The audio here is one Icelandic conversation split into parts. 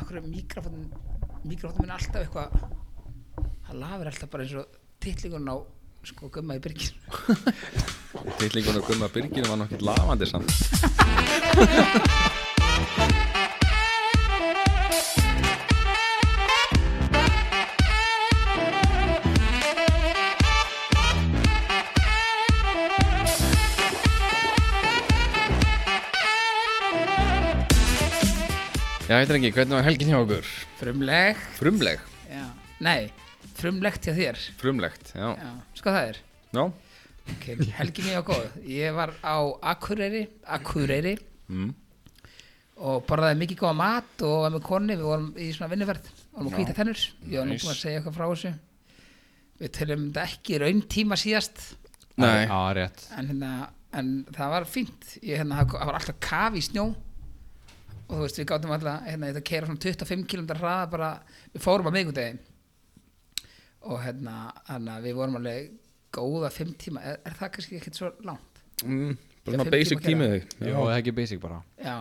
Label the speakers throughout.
Speaker 1: okkur mikrofónin mikrofónin minn alltaf eitthvað það lafir alltaf bara eins og titlingun á sko gumma í byrgin
Speaker 2: Tittlingun og gumma byrginu var nokkið lafandi samt Já, heitir ekki, hvernig var helgin hjá okkur?
Speaker 1: frumleg
Speaker 2: Frumleg,
Speaker 1: já. nei, frumlegt hjá þér
Speaker 2: frumlegt, já.
Speaker 1: já. sko það er
Speaker 2: Já,
Speaker 1: okay. helgin ég á góð ég var á Akureyri Akureyri
Speaker 2: Mm.
Speaker 1: og borðaði mikið góða mat og var með konni, við vorum í svona vinnuverð vorum að
Speaker 2: Já.
Speaker 1: hvíta tennur, ég var nú
Speaker 2: Nice.
Speaker 1: búin að segja eitthvað frá þessu við tölum þetta ekki í raun tíma síðast
Speaker 2: Nei.
Speaker 3: Já, rétt
Speaker 1: en, hérna, en það var fínt ég, hérna, það það var alltaf kaf í snjó og þú veist við gátum alltaf hérna, þetta keira svona 25 km hraða bara, við fórum á miðgundegi og hérna, hérna við vorum alveg góða 5 tíma er, er það kannski ekkert svo langt
Speaker 2: mm, bara
Speaker 1: Já,
Speaker 2: svona
Speaker 1: fimm tíma
Speaker 2: basic
Speaker 1: gera.
Speaker 2: tímið þig
Speaker 3: Jó, það er ekki basic bara
Speaker 1: já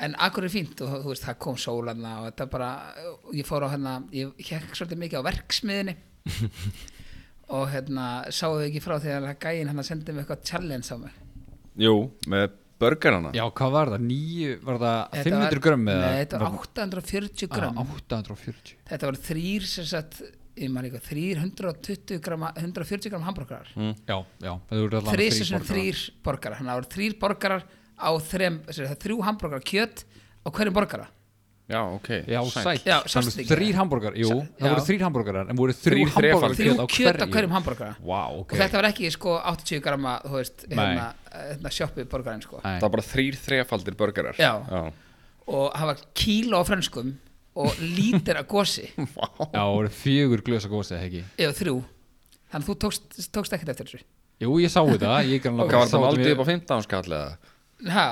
Speaker 1: en akkur er fínt og þú veist það kom sólanna og þetta bara og ég fór á hérna ég hekk svolítið mikið á verksmiðinni og hérna sáðu þau ekki frá þegar að gæinn hann sendi mig eitthvað challenge á mig
Speaker 2: Jú, með burgerana
Speaker 3: Já, hvað var það? Nýju, var það
Speaker 1: Þetta
Speaker 3: 500
Speaker 1: var-
Speaker 3: grömm eða?
Speaker 1: Nei, þetta var 840 grömm
Speaker 3: Ah, 840
Speaker 1: Þetta var þrýr sem sagt ég maður líka, 320 grama 140 gram hambúrgarar
Speaker 3: Já, já, það voru allan
Speaker 1: þrýr sem sagt þrýr borgarar þannig að það voru þrýr borgarar á þrem, sem sagt, þrjú hambúrgarar kjöt á hverjum borgara
Speaker 2: Já, ok
Speaker 3: Já,
Speaker 2: sæll.
Speaker 3: sætt
Speaker 1: Já,
Speaker 3: Það voru
Speaker 1: sást ekki.
Speaker 3: þrýr hambúrgar, jú
Speaker 1: Sæ-
Speaker 3: Það
Speaker 1: já.
Speaker 3: voru þrýr hambúrgarar En voru þrjú
Speaker 2: Þrír
Speaker 3: hambúrgar
Speaker 2: þrefaldir
Speaker 1: þrjú kjöt á hverjum hambúrgara
Speaker 3: Vá, ok
Speaker 1: og þetta var ekki sko 80 grama þú veist,
Speaker 3: Nei.
Speaker 1: hérna, hérna sjoppi borgarinn sko
Speaker 3: Nei.
Speaker 2: Það var bara þrýr þrefaldir burgerar
Speaker 1: Já.
Speaker 2: Já,
Speaker 1: og það var kíla á frönskum og lítir að gósi
Speaker 2: Vá.
Speaker 3: Já, voru fjögur glösa gósi, eða ekki
Speaker 1: eða þrjú þannig að þú tókst, tókst ekkert eftir þessu
Speaker 3: Jú, ég sá þetta Ég grann
Speaker 2: Hvað var það aldrei upp á 15 skall eða?
Speaker 1: Ha,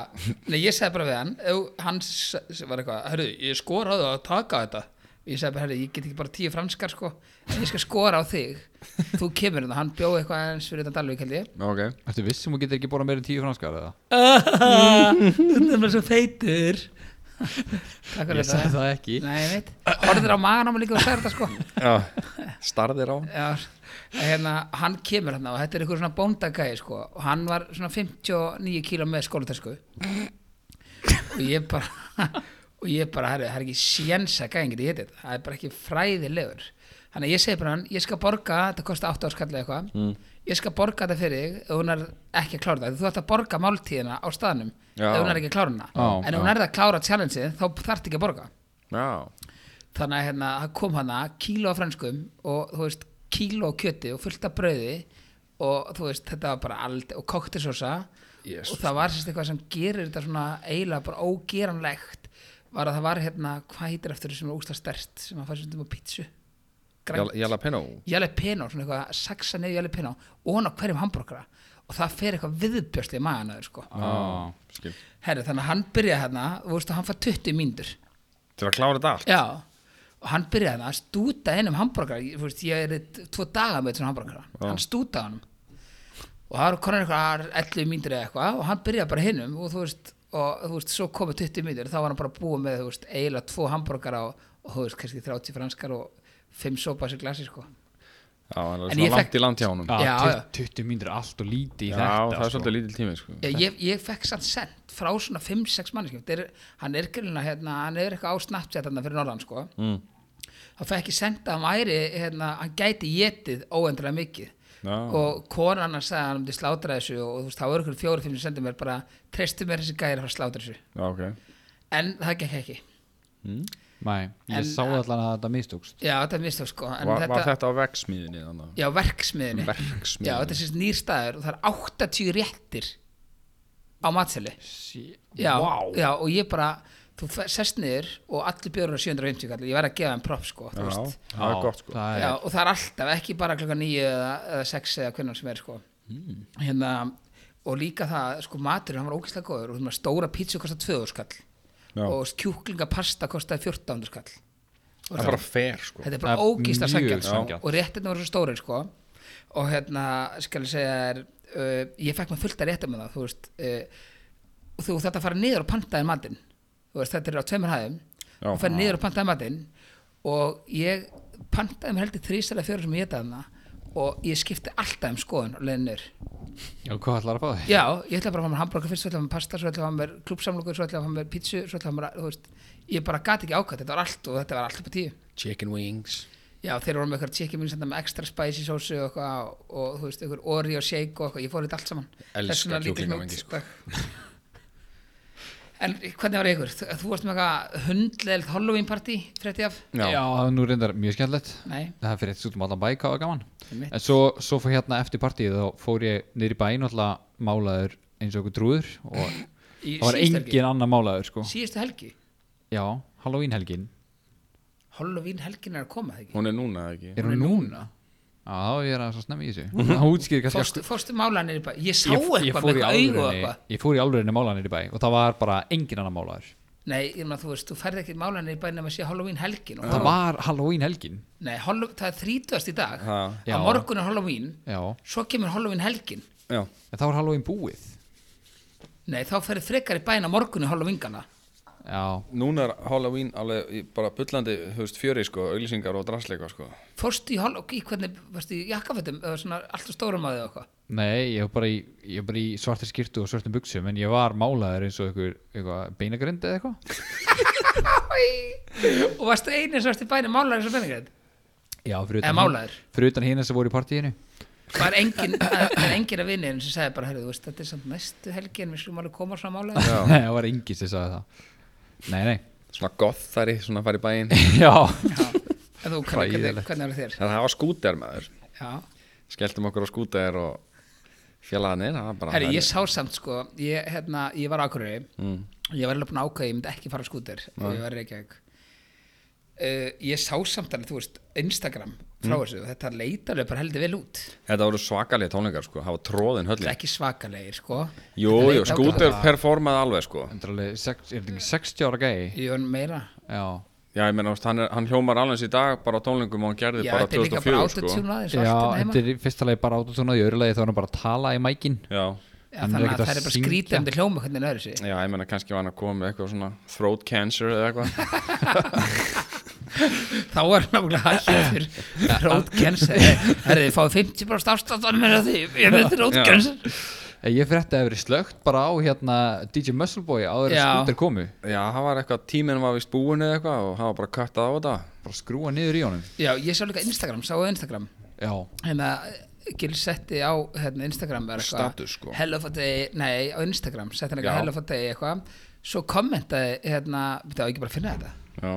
Speaker 1: nei, ég segi bara við hann ef hann s- s- var eitthvað, herru, ég skoraði að taka þetta ég segi bara, herru, ég get ekki bara tíu franskar sko, en ég skal skora á þig þú kemur hérna, hann bjóði eitthvað aðeins fyrir þetta Dalvík held ég
Speaker 2: Já, Ok,
Speaker 3: Ertu vissum að þú getur ekki borða meira en tíu franskar eða?
Speaker 1: þetta er bara svo feitur takk fyrir
Speaker 3: Ég sagði
Speaker 1: þetta
Speaker 3: það ekki
Speaker 1: nei, ég veit, horfður á magan á mig líka og sagði þetta sko
Speaker 2: já, starðir á
Speaker 1: Já, hérna, hann kemur hérna og þetta er einhver svona bóndagæði sko og hann var svona 59 kíló með skólatösku og ég bara og ég bara, herri, það er ekki sjensa gæðin getið getið, það er bara ekki fræðilegur þannig að ég segi bara hann, ég skal borga þetta kosti 8 áskallið eitthvað ég skal borga þetta fyrir þig ef hún er ekki að klára það þú ætti að borga máltíðina á staðnum
Speaker 2: Já.
Speaker 1: ef hún er ekki að klára hana
Speaker 3: Já,
Speaker 1: en ef hún er að klára challengeið þá þarf ekki að borga
Speaker 2: Já,
Speaker 1: þannig að hérna, það kom hana kíló af franskum og þú veist kíló af kjöti og fullt af brauði og þú veist þetta var bara allt og koktisósa
Speaker 2: Jesus.
Speaker 1: og það var sérst eitthvað sem gerir þetta svona eiginlega bara ógeranlegt var að það var hérna, hvað heitir eftir þessum ústa stert sem að fara sem þetta á pítsu
Speaker 2: Jala- jalapeno
Speaker 1: jalapeno, svona eitthvað saksa nefn jalapeno og hann á hverjum hambúrkara og það fer eitthvað viðbjörsli í maðan aður sko
Speaker 3: Á,
Speaker 2: Skil.
Speaker 1: Herri, þannig að hann byrjaði hérna, þú veist að hann fær 20 mínútur
Speaker 2: Til að klára þetta allt
Speaker 1: Já, og hann byrjaði að stúta hennum hambúrgar, ég, þú veist, ég er eitt- tvo daga með svona hambúrgar, hann stútaði hann og það var konar eitthvað 11 mínútur eða eitthvað og hann byrjaði bara hinnum og þú veist, og þú veist, svo komið 20 mínútur þá var hann bara búið með, þú veist, eiginlega tvo hambúrgar og, og þú veist, kannski 30 franskar og 5 sopas í glasi, sko
Speaker 2: Já, það
Speaker 1: En
Speaker 2: er
Speaker 1: ég
Speaker 2: svona
Speaker 1: fekk-
Speaker 2: langt í land hjá honum
Speaker 3: Já,
Speaker 1: Já, já.
Speaker 3: 20 Ah, mínútur er allt og lítið í
Speaker 2: Já,
Speaker 3: þetta
Speaker 2: það er
Speaker 3: sko.
Speaker 2: svolítið lítil tími sko.
Speaker 1: Ég, ég, ég fekk sann sent frá svona 5-6 manneskjum Þetta er, hann er grunna, hérna, hann er eitthvað á Snapchat hann fyrir norðan sko
Speaker 2: Mm.
Speaker 1: þá fekk ég senda að hann væri hérna, hann gæti getið óendurlega mikið
Speaker 2: Já.
Speaker 1: og konan hann sagði að hann myndi slátra þessu og þú veist, þá eru ykkur fjóri fimm sem sendu mér bara, treystu mér þessi gæri að fara að slátra þessu
Speaker 2: Já, ok
Speaker 1: en það gekk ekki,
Speaker 3: Nei, ég
Speaker 1: En-
Speaker 3: sá allan að þetta mistókst
Speaker 1: já þetta minnst þá sko en
Speaker 2: var,
Speaker 1: þetta,
Speaker 2: var þetta á vegsmíðinni þannig?
Speaker 1: já verksmiðinni já þetta
Speaker 2: Verksmiðinni
Speaker 1: er sérst nýr staður og það er 80 réttir á matseli já, já og ég bara þú fe- sest niður og allir björur á 750 kall, ég verð að gefa þeim propp sko þú
Speaker 2: Já,
Speaker 1: veist
Speaker 2: það er gott sko
Speaker 3: það
Speaker 1: Já,
Speaker 3: er,
Speaker 1: og það er alltaf, ekki bara klokka nýju eða, eða sex eða hvernig sem er sko.
Speaker 2: Hmm.
Speaker 1: hérna, og líka það sko maturinn, hann var ógeðslega góður og þú veist, stóra pítsu kostaði 2 skall
Speaker 2: Já.
Speaker 1: og kjúklingapasta kostaði 14 skall
Speaker 2: Það er bara fair sko
Speaker 1: þetta er bara
Speaker 3: Það er
Speaker 1: ógeðslega
Speaker 3: mjög
Speaker 1: sangjart sko.
Speaker 3: sanngjarnt.
Speaker 1: og réttirna voru svo stórir sko. og hérna, skal ég segja þér uh, ég fekk maður fullt að rétta með það þú veist uh, og þú þarft að fara niður og panta þér matinn þú veist, þetta er á tveimur hæðum
Speaker 2: Já.
Speaker 1: og fer niður og pantaði matinn og ég pantaði mér heldur þrýsælega fjóra sem ég geta þarna og ég skipti alltaf um skoðun og leðinur
Speaker 3: Já, hvað ætlar að fá þig?
Speaker 1: já, ég ætla bara að fá mér hambúrgar fyrst svo ætla að fá mér pasta, svo ætla að fá mér klúbsamlokur svo ætla að fá mér pítsu, svo ætla að fá mér þú veist, ég bara gati ekki ákvæmt, þetta var allt og þetta var allt upp á tíu
Speaker 2: Chicken wings
Speaker 1: já, þeir voru með eitthvað chicken wings hérna, með extra spicy sósu og, eitthvað, og, og þú veist, eitthvað Oreo shake og eitthvað, ég fór þetta allt saman
Speaker 2: Elska
Speaker 1: Þess vegna lítur
Speaker 2: kjúklinga
Speaker 1: hún út.
Speaker 2: mengi, sko.
Speaker 1: en hvernig var ykkur? Þú, þú varst með eitthvað hundlegild Halloween party, frétti ég af?
Speaker 2: Já,
Speaker 3: Já, það er nú reyndar mjög skemmtilegt
Speaker 1: Nei,
Speaker 3: Það er fyrir eitt út um allan bæ, hvað var gaman
Speaker 1: Einmitt.
Speaker 3: En svo, svo fór hérna eftir partíið þá fór ég niður í bæin alltaf málaður eins og okkur trúður og
Speaker 1: í
Speaker 3: það var
Speaker 1: síðustu helgi.
Speaker 3: engin annar málaður sko
Speaker 1: Síðustu helgi
Speaker 3: Já, Halloween helgin
Speaker 1: Halloween helgin er að koma, það ekki?
Speaker 2: hún er núna eða ekki
Speaker 3: Er hún núna? Já, þá er ég að svo snemmi í þessu Það útskýr kannski
Speaker 1: Fórstu, fórstu málanir í bæ? Ég sá
Speaker 3: sko- Ég, ég,
Speaker 1: eitthvað
Speaker 3: fór
Speaker 1: með
Speaker 3: í
Speaker 1: eitthvað augu og
Speaker 3: alvörunni,
Speaker 1: eitthvað
Speaker 3: ég fór í alvörinni málaðan í bæ og það var bara engin annar málaður
Speaker 1: Nei, ég meina, þú veist, þú ferð ekki málanir í bæ nema að sé Halloween helgin og
Speaker 3: það var Halloween helgin
Speaker 1: Nei, Halloween, það er þrítast í dag
Speaker 2: Ha,
Speaker 1: Á
Speaker 3: já.
Speaker 1: morgun er Halloween
Speaker 3: já, en
Speaker 1: Svo kemur Halloween helgin
Speaker 2: Já,
Speaker 3: það var Halloween búið
Speaker 1: Nei, þá ferði frekar í bæin á morgun í Halloweengana
Speaker 3: já,
Speaker 2: núna er Halloween alveg í bara bullandi, þú veist, fjöri sko, auglýsingar og drasleika sko
Speaker 1: Fórstu í Halloween, í hvernig, varstu í jakkafötum eða svona allt og stórum að þau eitthvað
Speaker 3: nei, ég var bara í, ég var bara í svartir skýrtu og svartum buksum en ég var málaður eins og einhver, einhver beinagrind eða eitthvað
Speaker 1: Og varstu einu sem varstu í bæin málanir sem fennigrið
Speaker 3: já, fyrir
Speaker 1: Eða
Speaker 3: utan,
Speaker 1: málaður.
Speaker 3: hin- fyrir utan hinn sem voru í partíinu
Speaker 1: Var engin, það er engin að vinni sem sagði bara, heyrðu, þú veist, þetta er samt næstu helgi en við slum alveg koma svo málanir
Speaker 3: nei, það var engin sem sagði það nei, nei,
Speaker 2: Svona gothari, svona fari í bæinn
Speaker 3: já
Speaker 1: En þú, hvernig, hvernig,
Speaker 3: Hræðilegt.
Speaker 1: hvernig er þér?
Speaker 2: Það hafa skúter maður
Speaker 1: Já.
Speaker 2: Skeltum okkur á skúter og fjallaðanir, það var bara
Speaker 1: Herri, ég sá samt sko, ég, hérna, ég var á Akureyri,
Speaker 2: mm.
Speaker 1: ég var alveg búin að ákveða, ég myndi ekki fara á skúter og ég var í Reykjavík. Uh, ég sá samt alveg, þú veist, Instagram frá
Speaker 2: Mm.
Speaker 1: þessu og þetta leit alveg bara heldur vel út.
Speaker 2: Þetta voru svakalega tónleikar sko, hafa tróðin
Speaker 1: Það er
Speaker 2: höllin
Speaker 1: ekki svakalegir sko.
Speaker 2: Jú,
Speaker 1: Þetta
Speaker 2: jú,
Speaker 1: leit
Speaker 2: skúter
Speaker 1: ágætlega.
Speaker 2: performaði alveg sko
Speaker 3: Þetta er alveg sex- er þetta ekki 60 ára gæi
Speaker 1: Jú, en meira.
Speaker 3: já,
Speaker 2: Já, ég meina, þú veist, hann, er, hann hljómar alveg í dag bara á tónleikum og hann gerði
Speaker 1: Já,
Speaker 2: bara
Speaker 1: þetta er líka bara
Speaker 2: 2004 sko
Speaker 1: autotune aðeins og
Speaker 3: já
Speaker 1: allt hérna
Speaker 3: þetta
Speaker 1: heima.
Speaker 3: er í fyrsta lagi bara átutunað í öðru lagi þá er hann bara að tala í mækin
Speaker 2: Já,
Speaker 1: Já,
Speaker 3: hann er
Speaker 1: þannig
Speaker 3: ekkert
Speaker 1: að
Speaker 3: að
Speaker 1: það er bara
Speaker 3: syngja.
Speaker 1: skrítandi hljóma hvernig öðru sig.
Speaker 2: já, ég meina, kannski var hann að koma með eitthvað svona throat cancer eða eitthvað
Speaker 1: Þá er hann náttúrulega hættur rótkenser. Herri, þið fáið 50% afstáttanum með því, ég með því rótkenser.
Speaker 3: Eh, Ég frétti að það verið slögt bara á hérna DJ Muscleboy áður að
Speaker 1: Já.
Speaker 3: skútir komu
Speaker 2: Já, það var eitthvað, tíminn var vist búin eða eitthvað og hann var bara kattað á þetta
Speaker 3: bara skrúa niður í honum
Speaker 1: Já, ég sá líka Instagram, sáu Instagram.
Speaker 3: Já,
Speaker 1: hérna Gil setti á hérna, Instagram eða eitthvað,
Speaker 2: Status, sko.
Speaker 1: Hell of a day, nei á Instagram setti hann eitthvað
Speaker 2: Já.
Speaker 1: hell of a day eitthvað svo kommentaði hérna það var ekki bara að finna þetta
Speaker 2: Já,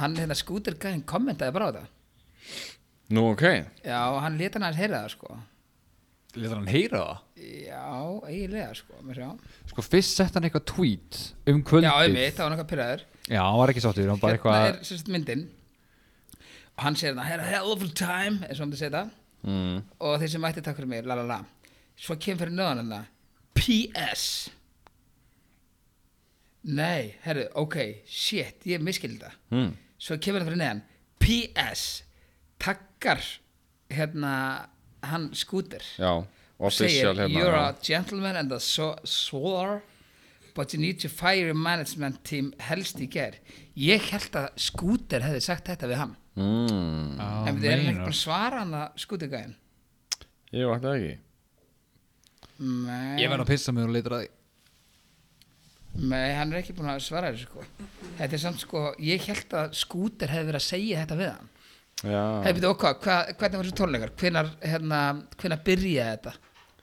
Speaker 1: hann hérna skútergæðin kommentaði bara á þetta
Speaker 2: nú ok
Speaker 1: já og hann leta hann að heyra það sko
Speaker 3: letur hann heyra það
Speaker 1: já eiginlega sko mér sjá.
Speaker 3: Sko fyrst sett hann eitthvað tweet um kvöldið
Speaker 1: já einmitt það var hann eitthvað pyrraður
Speaker 3: Já, hann var ekki sáttur, hann bara
Speaker 1: hérna
Speaker 3: eitthvað
Speaker 1: er sérst myndin og hann segir hérna "Had a hell of a time eins og hann segir það
Speaker 2: mm.
Speaker 1: og þeir sem mætti takk fyrir mig, la la la svo kemur fyrir nöðan hérna PS nei, herru, ok shit, ég miskildi það
Speaker 3: Hmm.
Speaker 2: Mm.
Speaker 1: svo kemur það fyrir neðan PS takkar hérna hann skútir
Speaker 2: Já, official hérna
Speaker 1: you're
Speaker 2: já.
Speaker 1: a gentleman and a so- swore but you need to fire your management team helst í ger ég held að skútir hefði sagt þetta við hann
Speaker 2: mm.
Speaker 3: Já,
Speaker 1: en við erum ekki
Speaker 3: meinar.
Speaker 1: bara að svara hann að skútirgæðin
Speaker 2: Ég vaknaði ekki
Speaker 1: Nei.
Speaker 3: Ég verð að pissa mig og letur að því
Speaker 1: Nei, hann er ekki búin að svara þessu sko. Þetta er samt sko, ég held að skúter hefði verið að segja þetta við hann.
Speaker 2: Já
Speaker 1: Hefði þú okkar, hva, hvernig var þessu tónleikar? Hvenar, hérna, hvenar byrjaði þetta?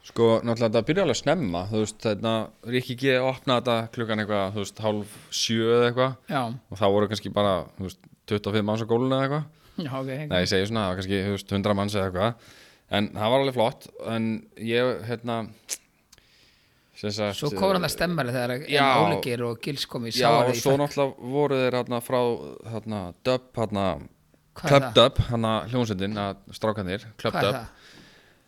Speaker 2: Sko, náttúrulega þetta byrja alveg snemma Þú veist, þetta, Ríkki G opnaði þetta klukkan eitthvað, þú veist, hálf sjö eða eitthvað
Speaker 1: Já,
Speaker 2: og það voru kannski bara, þú veist, 25 manns á gólunni eða eitthvað
Speaker 1: já, ok.
Speaker 2: Nei, ég segi svona, það var kannski þú veist, 100 manns eða eitthvað En það var alveg flott En ég, hérna sem sagt,
Speaker 1: Svo komur hann að stemmari þegar
Speaker 2: Já.
Speaker 1: en óleikir og gils kom í
Speaker 2: Já, og
Speaker 1: sári.
Speaker 2: svo náttúrulega voru þeir hérna frá hérna, Dub, hérna
Speaker 1: Hvað er
Speaker 2: Club
Speaker 1: það?
Speaker 2: Dub, hérna hljónsundin strákanir, Club
Speaker 1: Hvað er
Speaker 2: Dub
Speaker 1: það?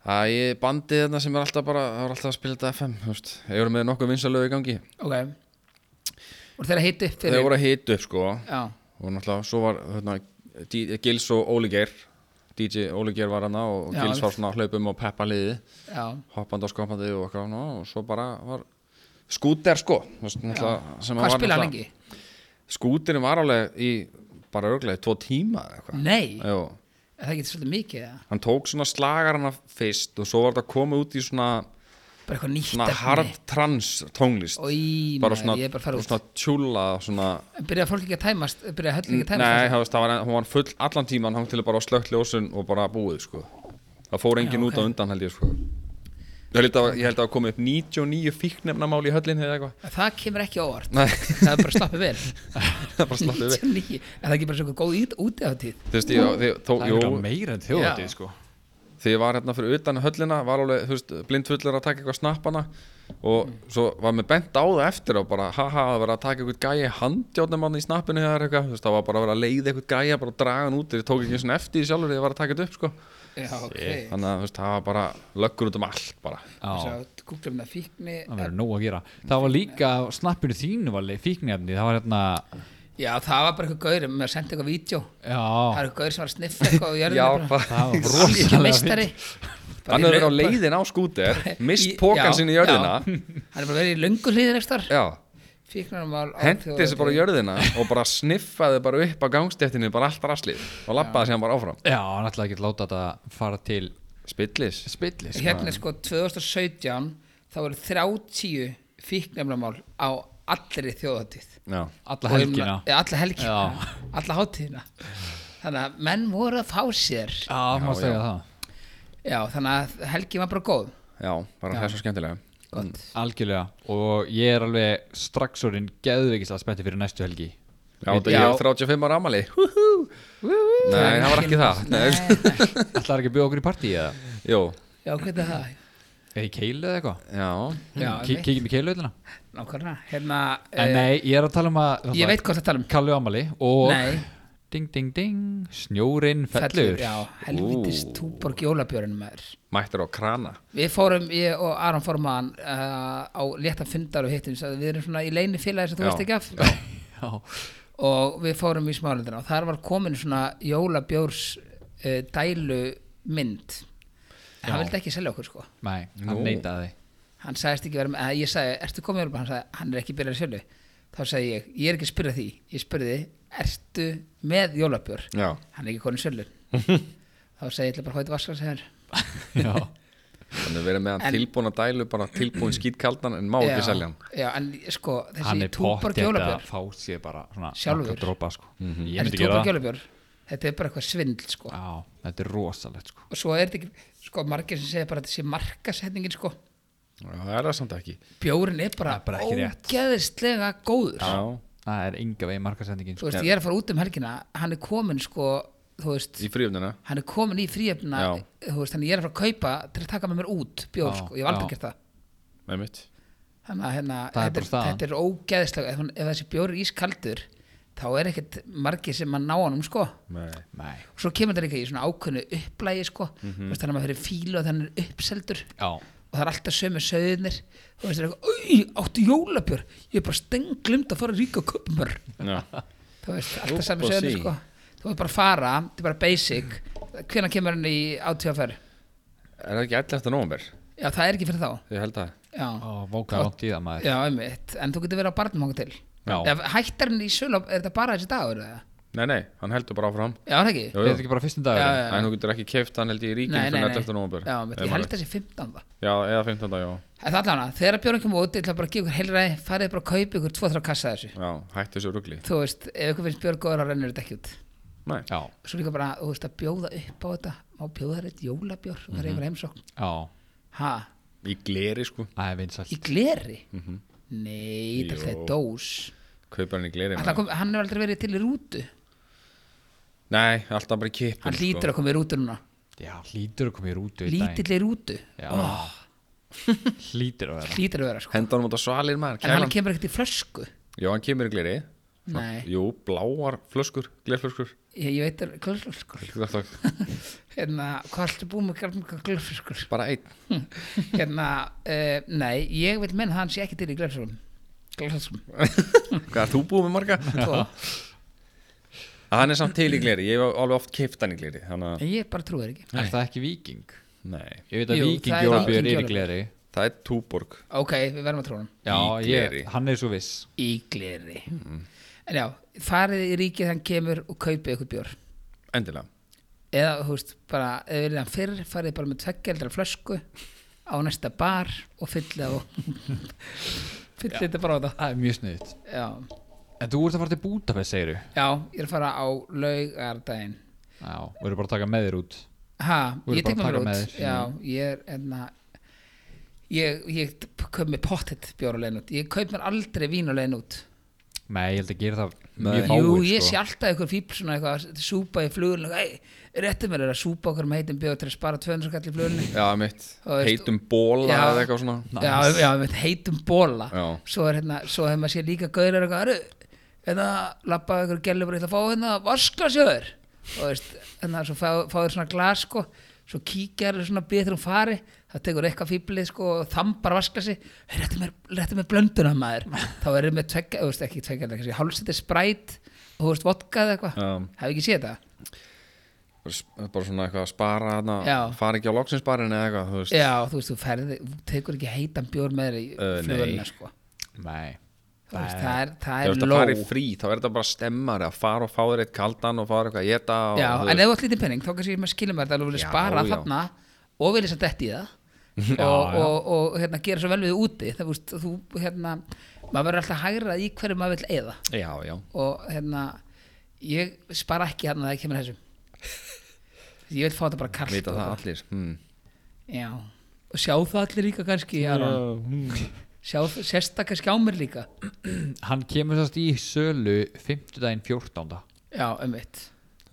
Speaker 2: Það er bandið þarna sem er alltaf bara það er alltaf að spila þetta FM, þú veist Þeir voru með nokkuð vinsalög í gangi
Speaker 1: Ok. Og þeirra heiti upp fyrir?
Speaker 2: Þeir voru að hita upp, sko
Speaker 1: Já,
Speaker 2: og náttúrulega svo var hérna, D- Gils og Óli Geir DJ Óli Geir var hana og
Speaker 1: Já,
Speaker 2: Gils
Speaker 1: einmitt.
Speaker 2: var svona að hlaupum og peppa liði
Speaker 1: já.
Speaker 2: hoppandi og skoppandi og eitthvað ná, og svo bara var skúter sko þú veist, náttúrulega, sem
Speaker 1: Hvað
Speaker 2: var
Speaker 1: spila hann
Speaker 2: náttúrulega-
Speaker 1: lengi?
Speaker 2: skútinu var alveg í bara örglega í tvo tíma eða eitthvað
Speaker 1: Nei,
Speaker 2: Jú.
Speaker 1: er það getur svolítið mikið eða?
Speaker 2: hann tók svona slagarana fyrst og svo var þetta að koma út í svona,
Speaker 1: Bara eitthvað nýtt
Speaker 2: svona
Speaker 1: efni.
Speaker 2: hard trans tónlist
Speaker 1: Í,
Speaker 2: bara
Speaker 1: maður,
Speaker 2: svona,
Speaker 1: ég er bara að fara út
Speaker 2: svona tjúla og svona
Speaker 1: En Byrjaði fólk ekki að tæmast, byrjaði höll ekki að tæmast
Speaker 2: Nei, það veist, það var, hún var full allan tíman hann til bara á slögt ljósun og bara búið sko. það fór engin
Speaker 1: Já,
Speaker 2: út á
Speaker 1: ok.
Speaker 2: undan held ég sko. ég held að, ég held að það komið upp 99 fíknefnamál í höllinni eða eitthvað
Speaker 1: Það kemur ekki á óvart
Speaker 2: Nei,
Speaker 1: Það er bara slappið vel
Speaker 2: það bara slappið við
Speaker 1: 99, er það ekki bara svona góð ít- úti á tíð
Speaker 2: Þú veist, ég, þið, þó,
Speaker 3: Það er
Speaker 2: jú,
Speaker 3: eitthvað meira en þjóðatíð
Speaker 1: Já.
Speaker 3: sko
Speaker 2: þegar ég var hérna fyrir utan höllina var alveg, þú veist, blindfullur að taka eitthvað snappana og
Speaker 1: Mm.
Speaker 2: svo var mér bent á það eftir og bara, haha, það var að taka eitthvað gæja handjátnum hann í snappinu eða eitthvað, þú veist, það var bara að vera að leiða eitthvað gæja, bara að draga hann út ég tók ekki eins og eftir því sjálfur þegar ég var að taka þetta upp, sko
Speaker 1: Já, ok
Speaker 2: þannig að þú veist, það var bara löggur út um allt bara.
Speaker 1: Svo
Speaker 3: Já,
Speaker 1: Googlum það fíkni
Speaker 3: það verður nóg að gera Það var líka, á snappinu þínu var fíknefni Það var hérna,
Speaker 1: Já, það var bara eitthvað gaur Mér sendi eitthvað vídeo Það
Speaker 3: já
Speaker 1: var eitthvað gaur sem var að sniffa eitthvað og jörðinu bara-
Speaker 2: það
Speaker 3: Það var
Speaker 1: Alveg
Speaker 3: rosalega
Speaker 1: meistari Bara
Speaker 2: hann
Speaker 1: í
Speaker 2: hefur verið á
Speaker 1: löng-
Speaker 2: leiðin á skúter mist
Speaker 1: í-
Speaker 2: pókan
Speaker 1: já,
Speaker 2: sinni í jörðina
Speaker 1: já. Hann er bara verið í löngu hlýðir ekstar
Speaker 2: já,
Speaker 1: Fíknarmál
Speaker 2: hendi þessi bara í jörðina og bara sniffaði bara upp á gangstéttinu bara allt raslið og lappaði sér bara áfram
Speaker 3: Já, hann ætlaði ekki að láta þetta fara til
Speaker 2: spillis
Speaker 3: spillis sko.
Speaker 1: Hérna er sko 2017 Þá eru 30 fíknarmál á allri þjóðatíð
Speaker 2: já,
Speaker 1: um-
Speaker 3: Alla helgina
Speaker 1: ja, Alla helgina,
Speaker 3: Já.
Speaker 1: alla hátíðina Þannig að menn voru að fá sér
Speaker 3: Já, maður
Speaker 2: Já,
Speaker 3: segja
Speaker 2: já.
Speaker 3: það
Speaker 1: Já, þannig að helgin var bara góð
Speaker 2: já, bara það er svo skemmtilega
Speaker 1: Gott
Speaker 3: Algjörlega Og ég er alveg strax orðin geðveikislega spennti fyrir næstu helgi
Speaker 2: já, þetta
Speaker 1: Já.
Speaker 2: ég er 35 ára amali
Speaker 3: Mm.
Speaker 2: nei, það var ekki það nei,
Speaker 3: Ætlaði ekki að bjóða okkur í partí eða
Speaker 2: jú,
Speaker 1: Já, hvernig er það?
Speaker 3: Mm. Eða í keilu eða eitthvað
Speaker 2: já
Speaker 1: Já,
Speaker 3: Kí-
Speaker 1: einmitt.
Speaker 3: Kíkjum í keiluhöllina
Speaker 1: Nákvæmlega Hérna,
Speaker 3: En
Speaker 1: eh,
Speaker 3: nei, ég er að tala um að
Speaker 1: ég veit hvað það tala um
Speaker 3: Kallu Amali og
Speaker 1: Nei.
Speaker 3: Ding, ding, ding Snjórin fellur,
Speaker 1: Já, helvitis
Speaker 2: Ú.
Speaker 1: túborg jólabjörn maður
Speaker 2: mættir á krana
Speaker 1: Við fórum, ég og Aron Forman uh, á létta fundar og hittum sagði, við erum svona í leini félagi sem þú
Speaker 2: Já,
Speaker 1: veist ekki af
Speaker 3: Já,
Speaker 1: og við fórum í smálindina og þar var komin svona jólabjórs uh, dælu mynd en hann
Speaker 3: Já.
Speaker 1: vildi ekki selja okkur sko
Speaker 3: nei, hann
Speaker 2: Nú.
Speaker 3: neitaði
Speaker 1: hann sagðist ekki vera með, eða ég sagði, ertu komið jólabjór? hann sagði, hann er ekki byrjað að sjölu þá sagði ég, ég er ekki að spyrja því ég spurði, ertu með jólabjór?
Speaker 2: já,
Speaker 1: hann er ekki konið sjölu þá sagði ég, ég ætla bara að hóta vaskans hér
Speaker 3: Já,
Speaker 2: þannig verið með
Speaker 1: En-
Speaker 2: hann tilbúin að dælu bara tilbúin skítkaldan en má ekki selja hann
Speaker 1: já, en sko,
Speaker 3: hann
Speaker 1: þessi
Speaker 3: er
Speaker 1: túborg
Speaker 3: pottið að
Speaker 1: jólabjór
Speaker 3: fá sér bara svona
Speaker 1: Sjálfur.
Speaker 3: nokkra dropa, sko. Ég
Speaker 1: en
Speaker 3: myndi gera
Speaker 1: túborg
Speaker 3: það Ah.
Speaker 1: jólabjór, þetta er bara eitthvað svindl sko.
Speaker 3: Já, þetta er rosalegt sko
Speaker 1: og svo er þetta ekki sko, margir sem segja bara að þetta sé markasetningin sko.
Speaker 2: já, það er það samt ekki
Speaker 1: bjórin er bara,
Speaker 3: Það er bara ekki rétt.
Speaker 1: ógeðislega góður
Speaker 2: já,
Speaker 3: Það er enga vegi markasendingin
Speaker 1: þú
Speaker 3: sko.
Speaker 1: veist, ég er að fara út um helgina hann er komin sko, þú veist
Speaker 2: í fríöfnina
Speaker 1: hann er komin í fríefna
Speaker 2: Já.
Speaker 1: þú veist, þannig ég er að fara að kaupa til að taka með mér út bjór,
Speaker 3: Já,
Speaker 1: sko, ég hef aldrei
Speaker 3: já.
Speaker 1: gert það
Speaker 2: með mitt
Speaker 1: þannig að hérna,
Speaker 3: Það er
Speaker 1: þetta,
Speaker 3: bara staðan.
Speaker 1: þetta er ógeðislega ef, hún- ef þessi bjór er ískaldur þá er ekkert margir sem að ná honum sko.
Speaker 2: Nei.
Speaker 3: Nei,
Speaker 1: og svo kemur þetta líka í svona ákveðnu upplægi sko. mm
Speaker 2: Mhm.
Speaker 1: -hmm. þannig að maður fyrir fílu og þannig er uppseldur
Speaker 3: já,
Speaker 1: og það er alltaf sömu söðunir og það er eitthvað, "Oj, áttu jólabjör ég er bara stengglimt að fara að ríka köpumör
Speaker 2: Já.
Speaker 1: þú veist, alltaf samu
Speaker 2: Upp á
Speaker 1: söðunir
Speaker 2: sí.
Speaker 1: sko þú veist bara að fara, þetta er bara basic hvenær kemur hann í átíðafæri?
Speaker 2: Er það ekki 11. november?
Speaker 1: Já, það er ekki fyrir þá
Speaker 2: Ég held að
Speaker 1: Já,
Speaker 3: Ó, vóka langt í það maður
Speaker 1: já einmitt, en þú getur verið á barnum hanga til
Speaker 3: Já.
Speaker 1: Ef hættar hann í sölu, er þetta bara þessi dagur? eða?
Speaker 2: Nei, nei, hann heldur bara áfram
Speaker 1: Já, er það ekki?
Speaker 2: Jú,
Speaker 3: Er
Speaker 2: jú.
Speaker 3: þetta ekki bara fyrstum dagur?
Speaker 1: Já, já.
Speaker 2: En þú getur ekki keft hann held ég í ríkinu
Speaker 1: Nei, nei,
Speaker 2: fyrir
Speaker 1: nei
Speaker 2: 11. november
Speaker 1: Já, einmitt, ég
Speaker 2: Ef
Speaker 1: held
Speaker 2: maður-
Speaker 1: þessi 15.
Speaker 2: Já, eða 15. já
Speaker 1: En það allan að þegar björn kemur út, ég ætla bara að gefa ykkur heilræði farið bara að kaupa ykkur 2-3 kassa af þessu
Speaker 2: Já, hættu þessu rugli
Speaker 1: Þú veist, ef ykkur finnst björn góður þá rennur þetta ekki út
Speaker 2: Nei,
Speaker 3: Já,
Speaker 1: svo líka bara, þú veist, að bjóða upp á þetta má bjóða þér eitt jólabjór og það er einhver heimsókn
Speaker 3: já,
Speaker 1: ha,
Speaker 2: í gleri sko
Speaker 3: það er vinsalt
Speaker 1: í gleri nei, þetta er
Speaker 2: Jó.
Speaker 1: þetta dós
Speaker 2: Kaupar hann í gleri
Speaker 1: hann,
Speaker 2: maður.
Speaker 1: kom, hann er aldrei verið til í rútu
Speaker 2: Nei, alltaf bara í sko. kipum
Speaker 1: hann lítur að koma í rútu núna
Speaker 3: Já, hlýtur að koma í rútu í daginn
Speaker 1: lítill í rútu,
Speaker 3: Já Hlýtur að vera
Speaker 1: hlýtur að vera sko.
Speaker 2: Hendan út á svalir maður
Speaker 1: en hann
Speaker 2: kælan.
Speaker 1: kemur ekkert í flösku
Speaker 2: Já, hann kemur í gleri
Speaker 1: nei,
Speaker 2: Jú, bláar flöskur, glerflöskur
Speaker 1: ég, ég veit að glöflöskur hérna, hvað ertu búið með glöflöskur glöflöskur
Speaker 2: Bara einn
Speaker 1: hérna, uh, nei, ég vil menn hann sé ekki til í glöflöskum glöflöskum,
Speaker 2: Hvað, ert þú búið með marga?
Speaker 1: tvo
Speaker 2: Að Hann er samt til í gleri, ég hef alveg oft keipt hann í gleri Þannig að,
Speaker 1: en ég bara trúi þér ekki
Speaker 3: Er það ekki viking?
Speaker 2: nei
Speaker 3: Ég veit að
Speaker 1: Jú, það
Speaker 3: viking
Speaker 1: er
Speaker 3: jólabjör
Speaker 1: Víking
Speaker 3: er í
Speaker 1: jólabjór.
Speaker 3: gleri
Speaker 2: Það er túborg
Speaker 1: ok, við verðum að trúa hann
Speaker 3: Já,
Speaker 2: Í
Speaker 3: ég,
Speaker 2: gleri.
Speaker 3: hann er svo viss
Speaker 1: í gleri en já, farið í ríkið þann kemur og kaupið ykkur bjór
Speaker 2: endilega
Speaker 1: eða, þú veist, bara, eða verið hann fyrr farið bara með tveggjeldra flösku á næsta bar og fyllið og fyllið þetta bara á það
Speaker 3: Það er mjög sniðut
Speaker 1: já,
Speaker 3: En þú ert að fara til Budapest, segir
Speaker 1: já, ég er að fara á laugardaginn
Speaker 3: Já, og eru bara að taka með þér út
Speaker 1: ha,
Speaker 3: Þú
Speaker 1: ég
Speaker 3: eru
Speaker 1: tek
Speaker 3: bara að
Speaker 1: með mér
Speaker 3: taka með
Speaker 1: út
Speaker 3: þér,
Speaker 1: já, ég er, enna ég, ég köp með pottet bjór á leiðin út ég kaup mér aldrei vín á leiðin út
Speaker 3: Nei, ég held að gera það
Speaker 2: Nei.
Speaker 3: mjög fáir
Speaker 1: Jú, ég sé
Speaker 3: sko.
Speaker 1: alltaf eitthvað fíbl svona eitthvað að súpa í flugun hey, réttu mér er að súpa okkur með heitum bjóð til að spara 200 kall í flugunni
Speaker 2: já, mitt,
Speaker 1: Þú veist,
Speaker 2: heitum bóla
Speaker 1: já.
Speaker 2: eða eitthvað svona
Speaker 3: Nice.
Speaker 1: já, já, með heitum bóla
Speaker 2: Já.
Speaker 1: svo er hérna, svo hefur maður sér líka gaurar eitthvað, eru, hérna lappaði eitthvað gælur bara eitthvað að fá hérna vasklasjöður og veist, hérna svo fá- fáður svona glas sko svo kíkjar er svona býð þegar hún fari það tekur eitthvað fíblið sko og þambar vasklasi réttu mér, réttu mér blönduna maður þá erum við tvekja, þú veist ekki tvekja kannski hálfsettir spræt og þú veist vodka eða eitthvað
Speaker 2: Já.
Speaker 1: hefur ekki séð þetta?
Speaker 2: Bara sp- bara svona eitthvað að spara hana,
Speaker 1: Já.
Speaker 2: fara ekki á loksinsbarinn eða eitthvað þú veist.
Speaker 1: Já, þú veist, þú ferði, þú tekur ekki heitan bjór með þér í
Speaker 2: Ö,
Speaker 1: flugurna,
Speaker 2: nei.
Speaker 1: sko.
Speaker 3: Nei
Speaker 1: Þú veist, það er, það
Speaker 2: Þegar
Speaker 1: er
Speaker 2: þú ert að
Speaker 1: ló.
Speaker 2: fara í frí, þá er þetta bara stemmari að fara og fá þér eitt kaldan og fá þér eitthvað að geta og,
Speaker 1: Já, en
Speaker 2: þú veist,
Speaker 1: ef þú átt lítið penning, þá kannski maður skilum þetta að þú vilja
Speaker 2: Já,
Speaker 1: spara
Speaker 2: já.
Speaker 1: þarna og vilja satt þetta í það
Speaker 3: Já,
Speaker 1: og,
Speaker 3: já.
Speaker 1: og, og hérna, gera svo vel við úti. Það, þú veist, þú, hérna, maður verður alltaf hægrað í hverju maður vill eða
Speaker 2: Já, já,
Speaker 1: og hérna, ég spara ekki hérna þegar kemur að þessu. Ég vil fá þetta bara kallt.
Speaker 2: vita
Speaker 1: og-
Speaker 2: það allir hmm.
Speaker 1: Já, og sjá það allir líka kannski, Aron.
Speaker 2: mm.
Speaker 1: Sjá það, sérstakar skjámir líka.
Speaker 3: Hann kemur sérst í sölu 50 daginn 14
Speaker 1: Já, um mitt.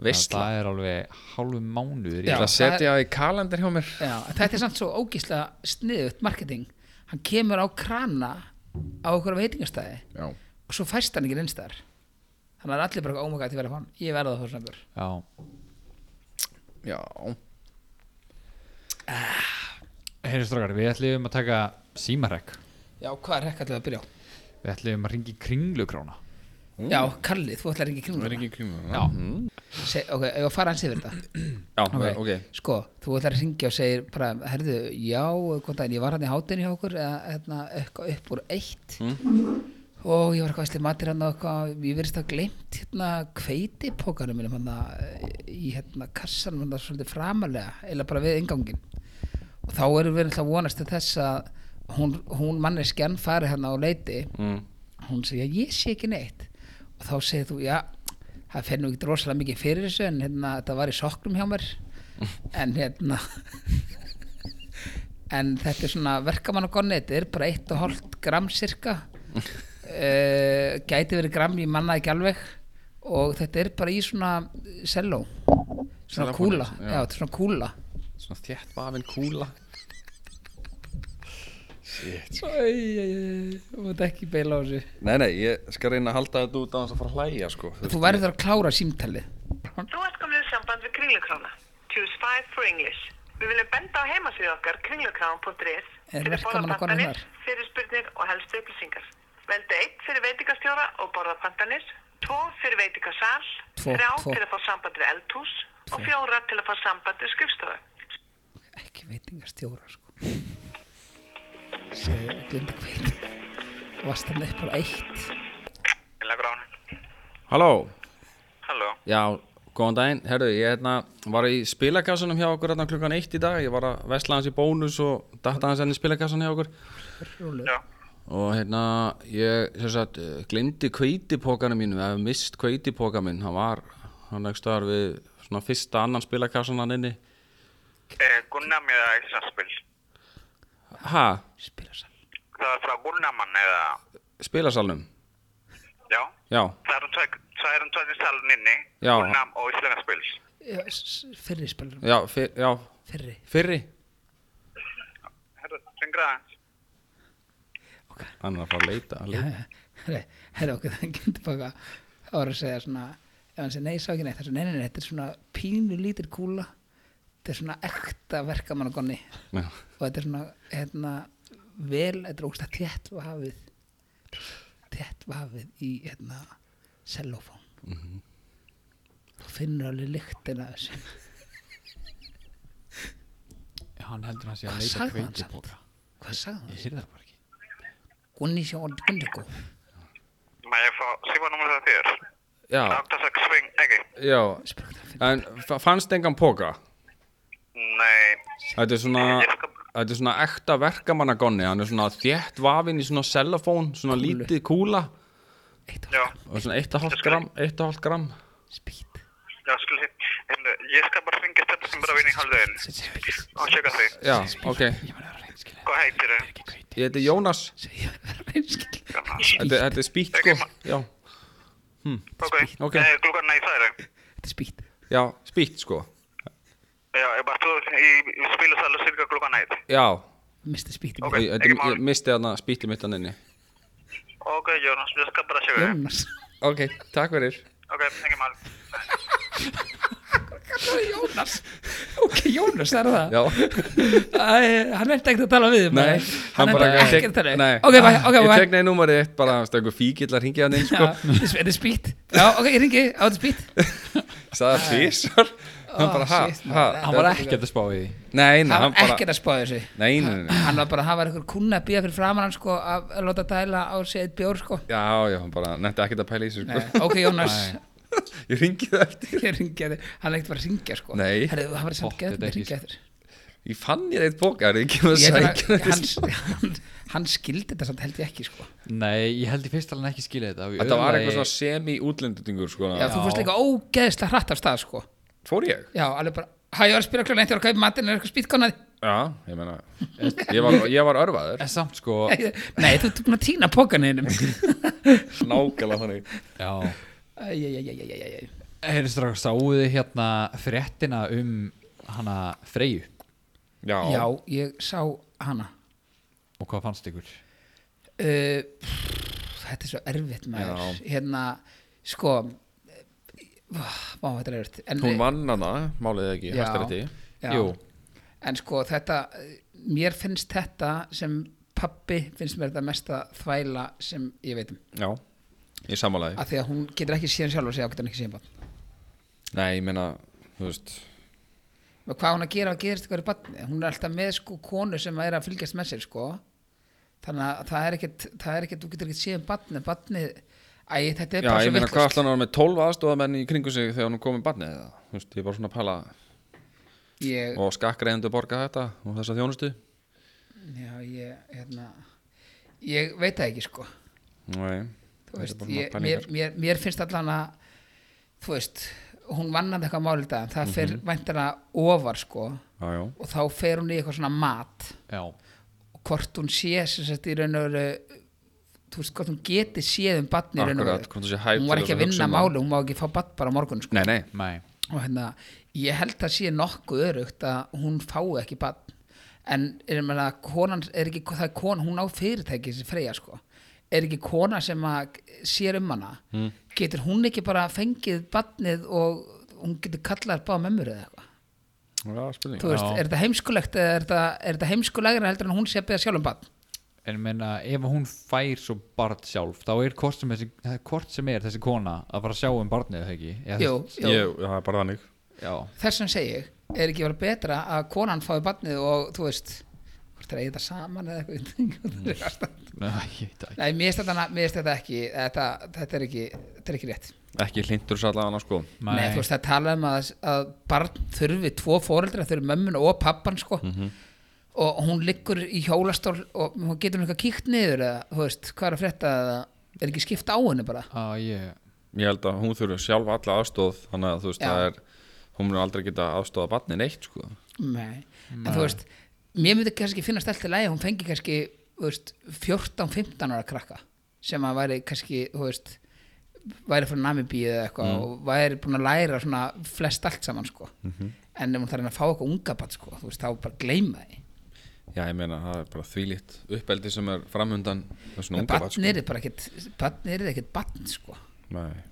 Speaker 2: Veistla
Speaker 3: Það er alveg hálfu mánuður í
Speaker 2: Ég
Speaker 1: Já.
Speaker 2: ætla að
Speaker 1: það er-
Speaker 2: setja í kalendar hjá mér
Speaker 1: Já, en þetta er samt svo ógíslega sniðut marketing. Hann kemur á krana á okkur veitingastæði
Speaker 2: Já,
Speaker 1: og svo fæst hann ekki nynst þar. Þannig að allir bara eitthvað ómugað til að vera hann. Ég verða það svona björ.
Speaker 3: Já,
Speaker 2: já,
Speaker 3: heyrðu strákar, við ætlum að taka símarek
Speaker 1: Já, hvað er rekka til að byrja á?
Speaker 3: Við ætlum að ringi kringlukrána
Speaker 1: Já, Kalli, þú ætlar ekki í kringluna.
Speaker 2: ekki kringum
Speaker 3: Já,
Speaker 1: Se, ok, ef að fara hans yfir þetta.
Speaker 2: Já, ok, ok
Speaker 1: Sko, þú ætlar að ringja og segir bara, herðu, já, hvað daginn, ég var hann í hátinn hjá okkur, eða hérna, eitthvað upp úr eitt.
Speaker 2: Hmm?
Speaker 1: Og ég var eitthvað æsli matir hann hérna og eitthvað, ég verðist að gleymt hérna kveitipókanum mínum hann í hérna kassanum hann svolítið framalega, eða bara við ingangin. Og þá erum við alltaf vonast til þess að hún, hún manneskjan fari hann á leiti
Speaker 2: mm.
Speaker 1: hún segja ég sé ekki neitt og þá segir þú já það fer nú ekki rosalega mikið fyrir þessu en hérna þetta var í sokknum hjá mér en hérna en þetta er svona verkamannagonni þetta er bara 1,5 gram cirka uh, gæti verið gram ég manna ekki alveg og þetta er bara í svona selló svona
Speaker 2: Sellófónið,
Speaker 1: kúla
Speaker 2: já.
Speaker 1: já. þetta er svona kúla
Speaker 2: Svona þétt bafin kúla Shit
Speaker 1: þú veit ekki beila á þessu
Speaker 2: Nei, nei, ég skal reyna að halda þetta út á hans að fara að hlæja sko
Speaker 1: þú væri þar að klára símtalið
Speaker 4: Þú ert komin í samband við Kringlukrána. Choose 5 for English. Við viljum benda á heimasíðu okkar kringlukrána.is
Speaker 1: Er
Speaker 4: fyrir
Speaker 1: verkamannakonan
Speaker 4: borðapantanir,
Speaker 1: þar?
Speaker 4: fyrirspurnir og helstu upplýsingar. Veldu 1 fyrir veitingastjóra og borðapantanir, 2 fyrir veitingasal,
Speaker 1: Tvo,
Speaker 4: 3
Speaker 1: tvo.
Speaker 4: til að fá samband við eldhús og 4 til að fá samband við skrifstofu.
Speaker 1: ekki veitingastjóra sko segir glinda kveit varst hann upp á eitt
Speaker 5: Kringlukrána.
Speaker 2: Halló,
Speaker 5: Halló.
Speaker 2: já, góðan daginn Herru, ég hérna, var í spilakassanum hjá okkur hérna klukkan eitt í dag Ég var að vesla hans í bónus og datta hans henni í spilakassan hjá okkur
Speaker 1: rúlu
Speaker 5: Já.
Speaker 2: Og hérna, ég sem sagt, eh, gleymdi kveitipókanum mínu, eða mist kveitipoka minn, hann var, hann ekki stöðar við svona fyrsta annan spilakassan hann inni.
Speaker 5: Eh, Gunnam eða Íslandspil.
Speaker 2: Ha,
Speaker 1: spila sann
Speaker 5: Það er frá Gunnamann eða...
Speaker 2: spilasalnum?
Speaker 5: Já.
Speaker 2: Já,
Speaker 5: Það eru tvö- það eru tveir salun inni.
Speaker 2: Já.
Speaker 5: Gunnam og Íslandspil.
Speaker 1: fyrri spilarum
Speaker 2: já, fyr, já,
Speaker 1: fyrri
Speaker 2: fyrri.
Speaker 5: Herru, syngra það.
Speaker 2: Hann er að fara að leita, að leita.
Speaker 1: herra okkur það glinda baka það var að segja svona ef hann segir nei, ég sá ekki neitt þessu, nei, nei, nei, þetta er svona pínu lítir kúla þetta er svona ekta verkamann og gonni
Speaker 2: Já,
Speaker 1: og þetta er svona hérna, vel, þetta er ógsta þétt vafið þétt vafið í hérna, cellofón og finnur alveg lyktina af þessu
Speaker 3: hann heldur hann sé að
Speaker 1: Hvað
Speaker 3: leita
Speaker 1: sagði hann samt?
Speaker 3: kveitipoka
Speaker 1: hvað sagði hann?
Speaker 3: Ég heyrði það bara ekki
Speaker 1: Gunni sjá orðið Gunni góð
Speaker 5: Má ég fá símanúmer það þér?
Speaker 2: Já,
Speaker 5: 86 sving, ekki?
Speaker 2: já
Speaker 1: Spurðu það fyrir-
Speaker 2: En fa- fannst engan póka?
Speaker 5: Nei,
Speaker 2: Þetta er svona
Speaker 5: ég skal
Speaker 2: Þetta er svona ekta verkamannagonni Hann er svona þétt vafinn í svona cellofón Svona lítið kúla
Speaker 1: Eitt
Speaker 5: Já,
Speaker 1: og
Speaker 2: Og svona 1,5 gram, 1,5 gram
Speaker 1: spýt
Speaker 5: já, skil þið. En eh, ég skal bara hringja stelpa sem bara vinni í halvdöðin og sjöka því.
Speaker 2: Já, ok
Speaker 1: Ég var að vera reynskilin
Speaker 5: Hvað heitir þau?
Speaker 2: Ég heiti Jónas
Speaker 1: Ég var að vera reynskilin
Speaker 2: Þetta, þetta er spýtt sko Já,
Speaker 5: Ok,
Speaker 2: Ok.
Speaker 5: okay. Eh, klukkan, nei, það eru.
Speaker 1: Þetta er spýt
Speaker 2: já spýtt sko
Speaker 5: Já, ég bara þú í, í spilasalu cirka klukkan eitt.
Speaker 2: Já,
Speaker 1: Misti spýt
Speaker 5: Ok.
Speaker 2: ég, ég,
Speaker 5: ekki
Speaker 2: ég,
Speaker 5: mál.
Speaker 2: ég misti þarna spýtið mitt hann inni
Speaker 5: Ok, Jónas, ég skal bara sjöka því.
Speaker 1: Jónas
Speaker 2: Ok, takk fyrir
Speaker 5: Ok, ekki mál.
Speaker 1: Jónas Ok, Jónas, það er það
Speaker 2: Já,
Speaker 1: Æ, Hann er ekkert að tala við þig,
Speaker 2: nei
Speaker 1: maður. Hann er
Speaker 2: bara-
Speaker 1: ekkert að tala við
Speaker 2: Nei, Ah,
Speaker 1: þig. Ok, bye, ok,
Speaker 2: Ég
Speaker 1: bye
Speaker 2: tek neði númerið eitt bara Það er einhver fíkill að ringja hann inn
Speaker 1: Já,
Speaker 2: sko
Speaker 1: Þetta er- þetta er spýt Já, ok, ég ringi Á, þetta er spýt
Speaker 2: Sæða tvísar Hann bara, ha,
Speaker 1: Oh, shit,
Speaker 2: ha
Speaker 1: maður.
Speaker 3: Hann var ekkert að spá í því
Speaker 2: Nei,
Speaker 1: Hann
Speaker 2: nei, hann
Speaker 1: var
Speaker 2: bara
Speaker 1: ekkert að spá þessu
Speaker 2: Nei, nei, nei
Speaker 1: Hann var bara að hafa einhver kunna að býja fyrir framan hann sko að að láta dæla á sig eitt bjór sko
Speaker 2: Já, já, hann bara nefndi ekkert að pæla í þessu
Speaker 1: Nei,
Speaker 2: sko
Speaker 1: Ok, Jónas
Speaker 2: Ég ringi það eftir
Speaker 1: Ég ringi að þig Hann er ekkert bara að ringja sko
Speaker 2: Nei.
Speaker 1: Herðu, það var samt
Speaker 3: Pottþétt
Speaker 1: geðvægt að
Speaker 3: ekki,
Speaker 1: ringja eftir
Speaker 2: Ég fann ég eitt bók Það er ekki að
Speaker 1: Ég held
Speaker 2: sækja
Speaker 1: að-
Speaker 2: þetta
Speaker 1: hann- hann- Hann skildi þetta samt held ég ekki sko
Speaker 3: Nei, ég held í fyrst alveg ekki skilja þetta og í
Speaker 2: Þetta
Speaker 3: öðru
Speaker 2: var
Speaker 3: lagi-
Speaker 2: eitthvað svona semi-útlendingur sko
Speaker 1: Já, þú fórst líka ógeðslega hratt af stað sko
Speaker 2: Fór ég?
Speaker 1: Já, alveg bara, hæ, ég var að spila kljóna eitt, ég var að kaupa matinn, er eitthvað spýtkonaði?
Speaker 2: Já, ég meina Ég var, ég var örfaður
Speaker 3: En samt sko
Speaker 1: Nei, þú ert búin að týna pókaninum.
Speaker 2: Nákvæmlega þannig
Speaker 3: Já
Speaker 1: Æjæjæjæjæjæjæj.
Speaker 3: Herri strax, sáuðu þið hérna fréttina um hana Freyju
Speaker 2: Já,
Speaker 1: Já, ég sá hana.
Speaker 3: og hvað fannst ykkur?
Speaker 1: Uh, pff, þetta er svo erfitt maður. Hérna, sko, vá, þetta er erfitt. En,
Speaker 2: Hún vann hana, málið ekki,
Speaker 1: Já.
Speaker 2: hæstarétti
Speaker 1: Já.
Speaker 3: Jú,
Speaker 1: En sko, þetta, eh, mér finnst þetta sem pappi finnst mér þetta mesta þvæla sem ég veit um.
Speaker 2: Já, í samanlega
Speaker 1: Af því að hún getur ekki síðan sjálf og segja, getur hann ekki síðan bann.
Speaker 2: Nei, ég meina, þú veist
Speaker 1: og hvað hún að gera og gerist ykkur í batni hún er alltaf með sko konu sem er að fylgjast með sér sko þannig að það er ekkert, það er ekkert þú getur ekkert séð um batni batni, æ, þetta er
Speaker 2: Já,
Speaker 1: bara
Speaker 2: ég
Speaker 1: svo
Speaker 2: meina, hvað
Speaker 1: vitlaust.
Speaker 2: ætla hann að vera með 12 aðstofamenn í kringu sig þegar hann kom með barnið eða? Þú veist, ég er bara svona að pæla
Speaker 1: ég,
Speaker 2: og skakkreiðandi borga þetta og þessa þjónustu
Speaker 1: já, ég, hérna ég veit það ekki sko
Speaker 2: Nei,
Speaker 1: þú veist,
Speaker 2: bara
Speaker 1: ég, mér,
Speaker 2: svona pælingar
Speaker 1: mér, mér finnst allan að þú veist, hún vann að eitthvað málið það, það fer
Speaker 2: Mhm.
Speaker 1: mm ofar sko
Speaker 2: Já, já,
Speaker 1: og þá fer hún í eitthvað svona mat
Speaker 3: já,
Speaker 1: og hvort hún sé sem sagt í raun og veru þú veist hvort hún geti séð um batni
Speaker 2: Akkurat, hvort hún sé hæf
Speaker 1: hún var
Speaker 2: til
Speaker 1: ekki
Speaker 2: að
Speaker 1: að
Speaker 2: hugsa
Speaker 1: vinna
Speaker 2: um
Speaker 1: máli, hún má ekki fá batn bara á morgun sko.
Speaker 2: nei, nei
Speaker 3: mæ
Speaker 1: og hérna, ég held að sé nokkuð örugt að hún fái ekki batn en er meina, konan er ekki, það er kona, hún á fyrirtæki sem freyja sko, er ekki kona sem að sér um hana
Speaker 2: Hmm.
Speaker 1: getur hún ekki bara fengið batnið og hún getur kallað bá mömmur eða eitthvað
Speaker 2: Já, spurning
Speaker 1: Þú veist,
Speaker 3: Já.
Speaker 1: er þetta heimskulegt eða er þetta, er þetta heimskulegra heldur en hún sé að beða sjálf um batn
Speaker 3: En ég meina, ef hún fær svo barn sjálf þá er hvort sem, þessi, það er hvort sem er þessi kona að fara að sjá um barnið eða ekki Eða
Speaker 1: Jú,
Speaker 3: þess-
Speaker 1: jú.
Speaker 2: Ég, það er bara þannig
Speaker 3: Já,
Speaker 1: þess vegna segi ég, er ekki verið betra að konan fái barnið og þú veist hvort er að eitthvað saman eða eitthvað
Speaker 3: Næ, ég veit það ekki
Speaker 1: Nei, mér finnst þetta, mér finnst þetta ekki þetta, þetta, er ekki þetta er ekki rétt
Speaker 2: Ekki hlindur sér allavega sko
Speaker 1: Nei, þú veist, það tala um að, að barn þurfi tvo fóreldra, þurfi mömmun og pappan sko og hún liggur í hjólastól og hún getur hún eitthvað kíkt niður eða, þú veist, hvað er að frétta eða er ekki skipt á henni bara
Speaker 3: Á, ég
Speaker 2: Ég held að hún þurfi sjálf alla aðstof Þannig að þú veist,
Speaker 1: Já.
Speaker 2: það er Hún mun aldrei geta aðstofa barnið neitt sko
Speaker 1: Nei, en þú veist mér myndi kannski finnast allt í lagi að hún fengi kannski þú veist, 14-15 ára krakka sem að væri kannski þú veist, væri frá Namibíu eða eitthvað
Speaker 2: Mm.
Speaker 1: og væri búin að læra svona flest allt saman sko
Speaker 2: Mhm.
Speaker 1: en ef hún þarf að reyna að fá eitthvað unga bat sko þú veist, þá bara gleyma því
Speaker 2: Já, ég meina, það er bara þvílítt uppeldi sem er framhundan Þessum unga barn, sko.
Speaker 1: batn er bara ekkit batn er ekkit batn sko
Speaker 2: Nei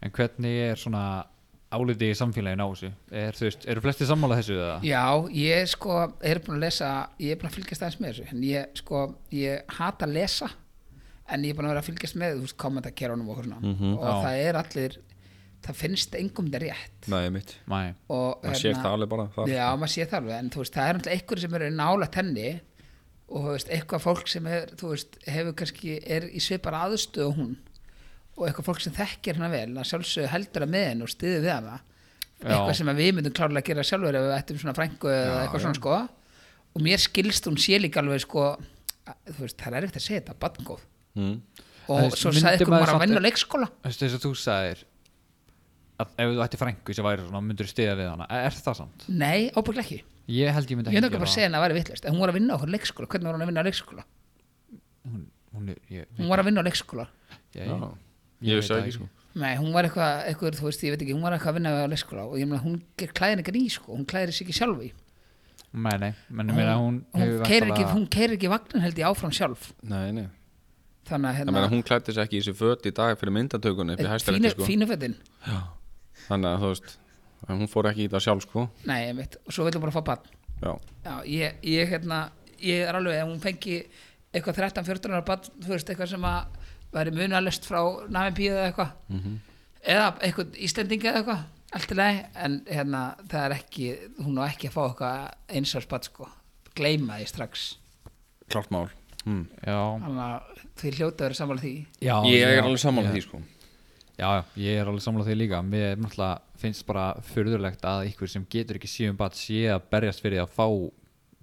Speaker 3: En hvernig er svona áliti í samfélaginu á þessu? Er, þú veist, eru flesti sammála þessu eða?
Speaker 1: Já, ég sko er búin að lesa, ég er búin að fylgjast aðeins með þessu en ég sko, ég hata að lesa en ég er búin að vera að fylgjast með þú veist, kommentakerunum og okkur svona
Speaker 2: Mhm,
Speaker 1: og
Speaker 3: já.
Speaker 1: það er allir, það finnst engum þetta rétt
Speaker 2: Nei, mitt
Speaker 3: Mæ,
Speaker 1: og
Speaker 2: Það sér það alveg bara það
Speaker 1: Hérna. Já, maður sér það alveg, en þú veist, það er náttúrulega einhverjir sem eru nála tenni og þú veist, eitthvað fólk sem er, þú veist, hefur kannski, er í svipar aðstöðu og hún og eitthvað fólk sem þekkir hana vel að sjálfsög heldur að með henn og stiði við hana
Speaker 3: Já.
Speaker 1: eitthvað sem að við myndum klárlega að gera sjálfur ef við ættum svona frængu eða eitthvað svona sko og mér skilst hún sé líka alveg sko að- þú veist, það er ekkert að segja þetta, batngóð
Speaker 2: mm.
Speaker 1: og
Speaker 3: Það er-
Speaker 1: svo
Speaker 3: myndi
Speaker 1: sagði ykkur
Speaker 3: maður
Speaker 1: bara
Speaker 3: samt-
Speaker 1: að vinna leikskóla
Speaker 3: Þessi þess að þú sagðir að ef þú ætti frængu sem væri svona myndur stiða við hana Er það samt?
Speaker 1: nei, ábygglega ekki,
Speaker 3: Ég held ég myndi
Speaker 1: ég myndi
Speaker 3: ekki
Speaker 1: ekki bara að segja henn að það væri vittlust en hún var að vinna á okkur leikskóla, hvernig var hún að vinna á leikskóla
Speaker 3: hún, hún, er- ég,
Speaker 1: hún var að vinna á leikskóla
Speaker 3: ég,
Speaker 2: Já.
Speaker 3: ég,
Speaker 2: Ég
Speaker 3: veit
Speaker 2: vissi
Speaker 3: það
Speaker 2: það ekki sko
Speaker 1: Nei, hún var eitthvað, eitthvað, þú veist, ég veit ekki, hún var eitthvað að vinna við á leikskóla og ég meina, hún ger klæðin ekki í, sko, hún klæðir sig ekki sjálf í.
Speaker 3: Nei, nei, menn ég meina hún
Speaker 1: Hún
Speaker 3: hefur
Speaker 1: keirir ekki,
Speaker 3: væntanlega-
Speaker 1: hún keirir ekki vagnin held ég áfram sjálf,
Speaker 2: Nei, nei
Speaker 1: þannig að, hérna, eh,
Speaker 2: Það meina hún klætti sér ekki í þessu föt í dag fyrir myndatökunni upp í hæstarétti
Speaker 1: fínu,
Speaker 2: sko
Speaker 1: fínufötin,
Speaker 2: Þannig að þú veist en hún fór ekki í það sjálf sko
Speaker 1: nei, ég veit, og svo vil hún bara fá bann.
Speaker 2: Já,
Speaker 1: Já, ég, ég, hérna, ég er alveg, ef hún fengi eitthvað 13-14 ára bann, þú veist, eitthvað sem að væri munalist frá Namibíu eða eitthvað, eða eitthvað Íslendinga eða eitthvað, allt í lagi, en hérna, það er ekki, hún á ekki að fá eitthvað einsvarsbann, sko, gleyma því strax.
Speaker 2: klart mál mm.
Speaker 3: Já,
Speaker 1: Þannig að því hljóta að vera sammála því
Speaker 3: já,
Speaker 2: Ég
Speaker 3: já,
Speaker 2: er alveg sammála
Speaker 3: já.
Speaker 2: því sko
Speaker 3: Já, já, ég er alveg samlað því líka Mér náttúrulega finnst bara fyrðurlegt að ykkur sem getur ekki síðan bara sé að berjast fyrir að fá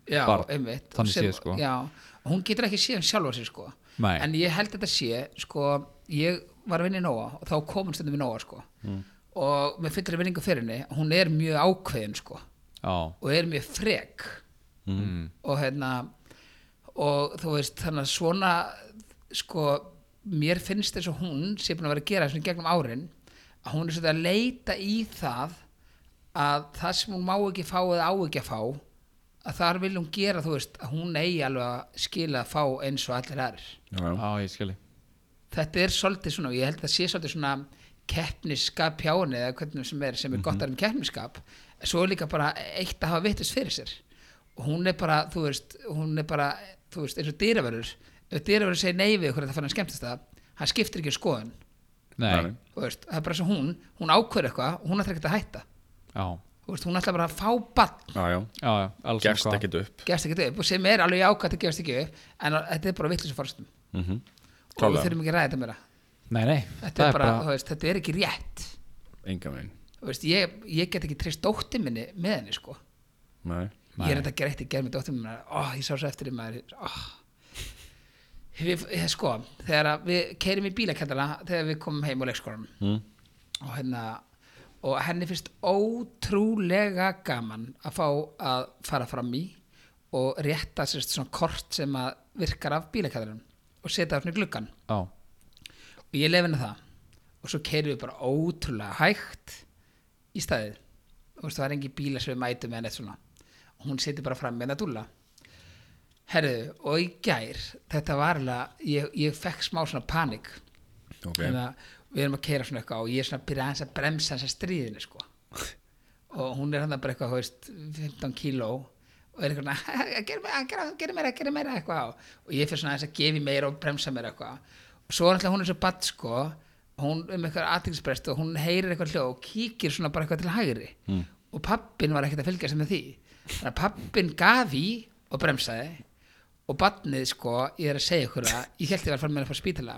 Speaker 1: Já,
Speaker 3: Barn,
Speaker 1: einmitt
Speaker 3: þannig
Speaker 1: Sem-
Speaker 3: séð, sko.
Speaker 1: Já, og hún getur ekki séð um sjálfa sér sko
Speaker 3: Nei.
Speaker 1: En ég held þetta sé, sko Ég var að vinna í Nóa og þá komum stundum í Nóa sko
Speaker 3: Mm.
Speaker 1: Og með fyllri vinningu fyrir henni Hún er mjög ákveðin sko
Speaker 3: Já,
Speaker 1: Og er mjög frek
Speaker 3: mm.
Speaker 1: Og hérna Og þú veist, þannig að svona Sko, mér finnst þess að hún Sé búin að vera að gera svona í gegnum árin Að hún er svolítið að leita í það að það sem hún má ekki fá eða á ekki að fá að þar vil hún gera þú veist að hún eigi alveg að skila að fá eins og allir aðrir
Speaker 2: Já, já.
Speaker 3: já, ég skilji
Speaker 1: þetta er svolítið svona og ég held að það sé svolítið svona keppnisskap hjá henni eða hvernig sem er sem er gott að um keppnisskap en svo er líka bara eitt að hafa vittist fyrir sér og hún er bara þú veist hún er bara þú veist eins og dýraverður ef dýraverður segir nei við okkur að það fann að skemmtist það hann skiptir ekki um skoðun
Speaker 3: Nei,
Speaker 1: þú veist það er bara svo hún hún ákveður eitthvað og hún ætlar ekki að hætta
Speaker 3: já,
Speaker 1: þú veist hún ætlar bara að fá bann
Speaker 2: já, já.
Speaker 3: já, já, alls
Speaker 2: Gefst ekkit upp
Speaker 1: gefst ekki upp og sem er alveg ákvæmt að gefst ekki upp en að- þetta er bara vittlis að forstum
Speaker 2: mm -hmm.
Speaker 1: og við þurfum ekki að ræða þetta meira
Speaker 3: Nei, nei,
Speaker 1: þetta er, bara, þú veist, þetta er ekki rétt
Speaker 2: Enga megin
Speaker 1: Þú veist, ég, ég get ekki treyst dóttir minni með henni sko
Speaker 2: Nei
Speaker 1: ég er þetta að gera eitt í gerð með dóttir minni ó, ég sá svo eftir því maður ó. Við, ég, sko, þegar að við keirum í bílakendala þegar við komum heim á leikskólanum
Speaker 2: mm.
Speaker 1: og hérna og henni finnst ótrúlega gaman að fá að fara fram í og rétta sérst svona kort sem að virkar af bílakæðarum og setja það svona í gluggan
Speaker 3: Já,
Speaker 1: og ég lef henni það og svo keirum við bara ótrúlega hægt í staðið og veist, það var engin bíla sem við mætum með neitt svona og hún setja bara fram með það dúlla herðu og í gær þetta var alveg ég, ég fekk smá svona panik
Speaker 2: Ok
Speaker 1: þannig að við erum að keira svona eitthvað og ég er svona að byrja aðeins að bremsa þessa stríðinu sko. og hún er hann bara eitthvað þú veist, 15 kíló og er eitthvað svona gerðu meira, gerðu gerðu meira, gerðu meira eitthvað á og ég fyrir svona aðeins að gefa í meira og bremsa meira eitthvað og svo er alltaf hún er svo badd sko hún er með eitthvað aðtingsbrest og hún heyrir eitthvað hljóð og kíkir svona bara eitthvað til hægri mm. og pappin var ekkert að fylgja sem með því þannig að pappin gaf í og bremsaði og barnið sko, ég er að segja ykkur það ég held ég var að fara með að fara spítala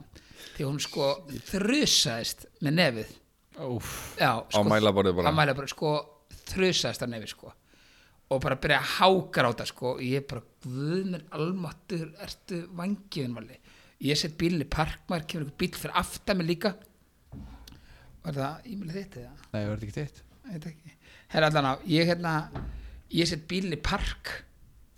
Speaker 1: því hún sko þrusaðist með nefið
Speaker 3: úf
Speaker 1: Já, sko,
Speaker 2: mælaborðið bara.
Speaker 1: á mælaborðið, sko, þrusaðist á nefið sko og bara byrja að hágráta sko og ég bara, guð minn almáttur ertu vangiðin vali ég set bílinn í parkmaður, kemur einhver bíl fyrir aftan mig líka var það ímjölu þitt eða?
Speaker 3: Nei, verður ekki þitt
Speaker 1: Ég veit ekki Herra allan á, ég hérna ég set bílinn í park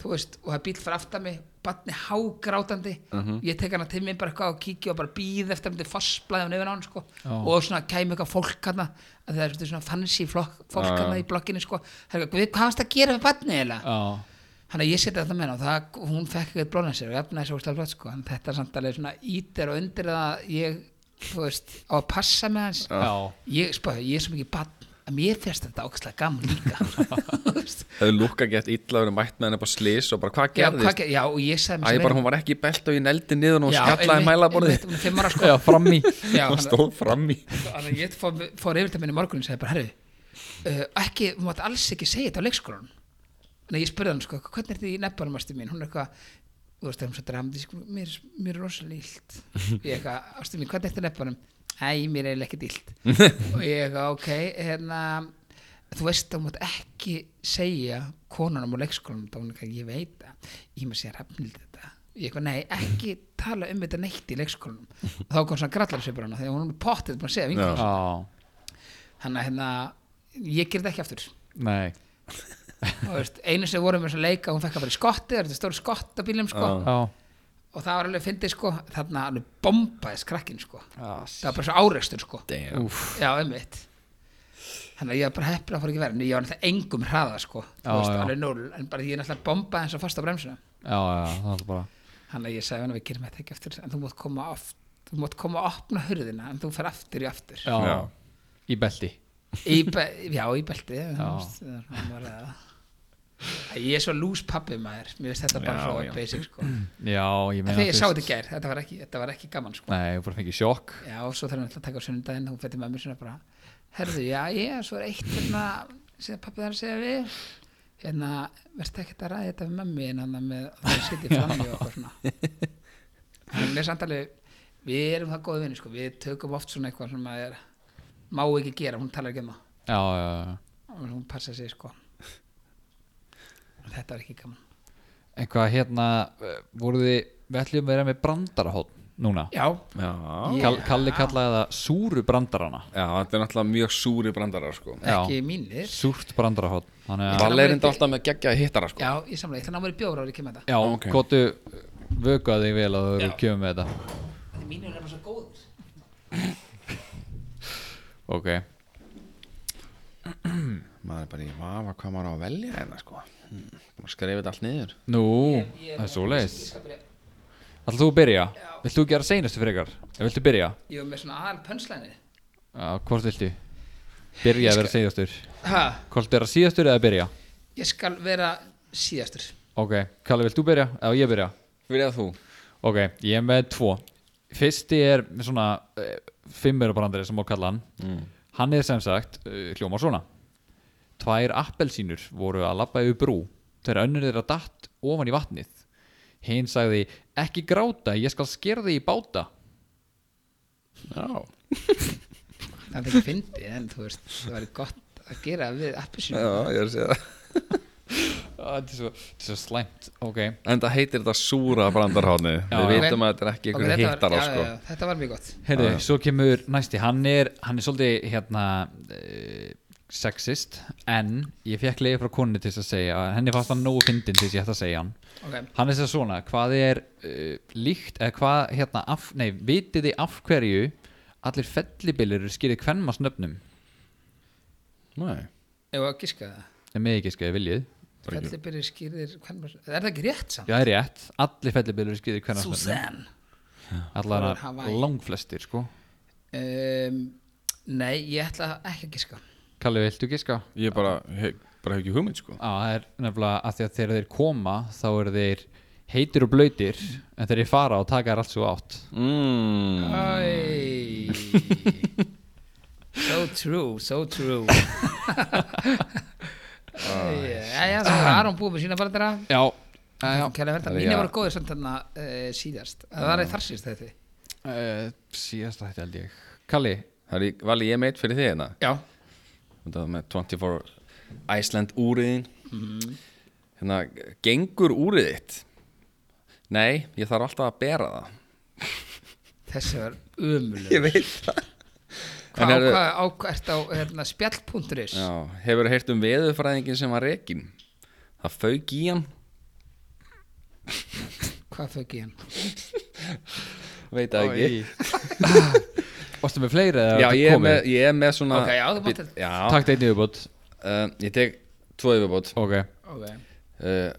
Speaker 1: þú veist, og það er bíl fyrir aftan mig batni hágrátandi,
Speaker 3: Mhm.
Speaker 1: ég tek hana til mér bara eitthvað og kíkja og bara býð eftir myndi fastblæði hann yfir hann sko
Speaker 3: Já.
Speaker 1: og svona kæmi eitthvað fólk hana að það er svolítið svona fancy flokk, fólk
Speaker 2: Já, já.
Speaker 1: hana í blokkinni sko, það er eitthvað, "Guð, hvað varst að gera við batni eiginlega?
Speaker 3: Já,
Speaker 1: Þannig að ég seti þetta með hana og það, hún fekk eitthvað blóðan sér og efnaði svo úrslega flott sko, en þetta er samt alveg svona ítir og undir að ég, þú veist, á að passa með hans
Speaker 3: já,
Speaker 1: ég, spá, ég er svo mikið bann að mér fyrst þetta ákastlega gaman líka Þú veist.
Speaker 2: Hefur lúkka gett illa verið mætt með henni bara slís og bara hvað
Speaker 1: já,
Speaker 2: gerðist
Speaker 1: hvað ger- já, og ég sagði mér
Speaker 2: Æ,
Speaker 1: sem
Speaker 2: bara
Speaker 1: er-
Speaker 2: hún var ekki í belt og ég neldi niður og hún
Speaker 1: Já,
Speaker 2: skallaði
Speaker 1: einmitt,
Speaker 2: mælaborðið
Speaker 1: einmitt, hún er fimm ára sko
Speaker 3: já, fram í
Speaker 1: Já,
Speaker 2: Hún
Speaker 1: hann-
Speaker 2: stóð fram í
Speaker 1: þannig að ég fór, fór yfir til minni morgun og sagði bara, herru uh, ekki, þú mátt alls ekki segja þetta á leikskólan en ég spurði hann, sko, hvernig er þetta í nefnbærum ástu mín, hún er eitthvað þú veist, það er hún svo dramdi, sko, mér, mér er rosalega illt ég eitthvað, ástu mín, hvernig er þetta í nefnbærum Æ, mér er eiginlega ekkert illt og ég eitthvað, ok, hérna þú veist að hún mátt ekki segja konanum á leikskólanum þá hún eitthvað, ég veit það, ég maður segja rafnild þetta ég eitthvað, nei, ekki tala um þetta neitt í leikskólanum og þá kom svona grallarsveipur hana þegar hún er pottið búin að segja vingur
Speaker 2: Já.
Speaker 3: Á,
Speaker 1: þannig að hérna, ég ger þetta ekki aftur
Speaker 3: nei
Speaker 1: og veist, einu sem vorum við að leika hún fekk að fara í skotti, það er þetta stóri skott á bílum sko,
Speaker 3: Á,
Speaker 1: og það var alveg fyndið sko þarna alveg bombaðis krakkin sko það var bara svo árekstur sko
Speaker 2: Damn.
Speaker 1: já, einmitt þannig að ég var bara heppin að fór ekki verið en ég var náttúrulega engum hraða sko
Speaker 3: Já,
Speaker 1: þú veist,
Speaker 3: já.
Speaker 1: alveg núl, en bara ég náttúrulega bombaði eins og fast á bremsuna
Speaker 3: já, já, það er bara
Speaker 1: þannig að ég sagði hann að við gerum þetta ekki aftur en þú mátt koma oft þú mátt koma að opna hurðina en þú fer aftur í aftur
Speaker 3: Já,
Speaker 2: Já.
Speaker 3: í belti
Speaker 1: í be já, í belti
Speaker 3: Já.
Speaker 1: ég er svo lús pappi maður mér finnst þetta bara
Speaker 2: Já,
Speaker 1: svo
Speaker 2: já.
Speaker 1: basic sko en
Speaker 3: Já, ég meina
Speaker 1: þegar ég
Speaker 3: þú
Speaker 1: sá
Speaker 3: veist-
Speaker 1: þetta í gær, þetta var ekki, þetta var ekki gaman sko
Speaker 3: Nei, ég bara fengið sjokk
Speaker 1: Já, og svo þarf hann alltaf að taka á sunnudaginn hún fætti mömmu sinna bara Herðu, já, ég, svo er eitt hérna sem pappi þar að segja við hérna, verðstu ekkert að ræða þetta við mömmu en hann með að það sitja fram í okkur svona en mér samt alveg við erum það góði vinni, sko við tökum oft svona eitthvað sem að er má ekki gera, hún talar ekki um það
Speaker 3: Já, já, já
Speaker 1: og hún passa sig, sko þetta var ekki gaman
Speaker 3: Eitthvað hérna, eh, voruð þið Við ætlum að vera með brandarahótt núna
Speaker 1: Já,
Speaker 2: Já.
Speaker 1: Ég-
Speaker 3: Kall, Kalli kallaði það súru brandarana
Speaker 2: Já, þetta er náttúrulega mjög súri brandarar sko
Speaker 3: Já.
Speaker 1: ekki mínir
Speaker 3: Súrt brandarahótt Þannig að
Speaker 1: Val-
Speaker 2: Valle er enda alltaf með geggja hittara sko
Speaker 1: Já, ég samlega, ég ætla að ná mér í bjóra og ég kemur þetta
Speaker 3: Já,
Speaker 2: ok.
Speaker 3: okay. kvotu vökuða þig vel að þú eru kjöfum með þetta
Speaker 1: Þetta mínir er bara svo góður
Speaker 3: Ok,
Speaker 2: Maður er bara í vafa hvað maður á að velja hérna sko hmm. Maður skrifið þetta allt niður
Speaker 3: nú, það er svo leis
Speaker 1: Ég skal byrja-
Speaker 3: Ætlum þú að byrja? Vilt þú gera seinastu frekar? Eða viltu byrja?
Speaker 1: Ég var með svona aðal pönslæni
Speaker 3: Já, hvort viltu? Byrja að vera seinastu
Speaker 1: Ha,
Speaker 3: Hvort er að síðastur eða byrja?
Speaker 1: ég skal vera síðastur
Speaker 3: Ok, Kalli, vilt þú byrja? Eða ég byrja?
Speaker 2: Fyrir að þú
Speaker 3: Ok, ég er með tvo Fyrsti er svona uh, Fimmurubrandari sem má kalla hann Hann er sem sagt uh, hljómar svona Tvær appelsínur voru að labba yfir brú Þegar önnur þeirra datt ofan í vatnið Hinn sagði Ekki gráta, ég skal skera þig í báta
Speaker 2: Já,
Speaker 1: Það er ekki fyndið, en þú veist það væri gott að gera við appisinu
Speaker 2: ég er að segja það
Speaker 3: Ah, Þetta er svo, þetta er svo slæmt Ok,
Speaker 2: En það heitir þetta súra brandarhóðni Við
Speaker 1: já.
Speaker 2: vitum að þetta er ekki ykkur okay,
Speaker 1: var,
Speaker 2: hittara
Speaker 1: já,
Speaker 2: sko
Speaker 1: já, þetta var mjög gott
Speaker 3: heyrðu, svo kemur næsti Hann er, hann er svolítið hérna uh, sexist En ég fekk leiði frá konni til þess að segja Henni fannst hann nógu fyndin til þess að ég ætti að segja hann
Speaker 1: okay.
Speaker 3: Hann er sér svona, hvað er uh, líkt, eða hvað, hérna, af, nei, vitið þið af hverju allir fellibillir eru skýrið kvenmas nöfnum?
Speaker 2: Nei,
Speaker 1: Ég var að gíska það
Speaker 3: Nei, með ekki skoðið viljið.
Speaker 1: Fellibyrðir skýrðir hvernig Er það ekki rétt samt?
Speaker 3: Já, það er rétt, allir fellibillir eru skýrið kvenmas nöfnum.
Speaker 1: Susan
Speaker 3: Allar
Speaker 1: Frá Hawaii.
Speaker 3: langflestir, sko.
Speaker 1: um, Nei, ég ætla ekki að gíska
Speaker 3: Kalli, viltu giska?
Speaker 2: ég bara, hef, bara hef ekki hugmynd sko
Speaker 3: Á, það er nefnilega að því að þegar þeir koma, þá eru þeir heitir og blöytir, en þegar þeir fara og taka þær allt svo átt.
Speaker 2: mm.
Speaker 1: Æ So true, so true Æ, já, það var Aron búið með sína bara þeirra
Speaker 3: Já, já, já.
Speaker 1: Kæra verða,
Speaker 2: Það er
Speaker 1: mínu
Speaker 2: já.
Speaker 1: voru góðir samt þarna uh, síðast Það var þar síðast þetta
Speaker 3: Uh, síðasta hætti held ég. Kalli,
Speaker 2: Það er, Vali, ég meitt fyrir þig hérna
Speaker 1: Já
Speaker 2: Þetta var með 24 Iceland úriðin Hérna, gengur úrið þitt Nei, ég þarf alltaf að bera það
Speaker 1: Þessi var umulur
Speaker 2: veit það
Speaker 1: Hvað
Speaker 2: En
Speaker 1: á,
Speaker 2: er-
Speaker 1: hvað á, hvað ert á hérna, spjall.is
Speaker 2: Já, hefur heyrt um veðurfræðingin sem var rekin Það fauk í hann
Speaker 1: Hvað fauk í hann?
Speaker 2: Veit það ekki
Speaker 3: varstu með fleiri eða
Speaker 2: Já,
Speaker 3: ertu
Speaker 2: ég er,
Speaker 3: komið?
Speaker 2: með, ég er með svona
Speaker 1: Ok, já, þú mátt þetta.
Speaker 2: Já,
Speaker 3: Takk þetta einu viðbútt
Speaker 2: uh, ég tek tvo yfirbót
Speaker 3: Ok
Speaker 1: Ok
Speaker 2: uh,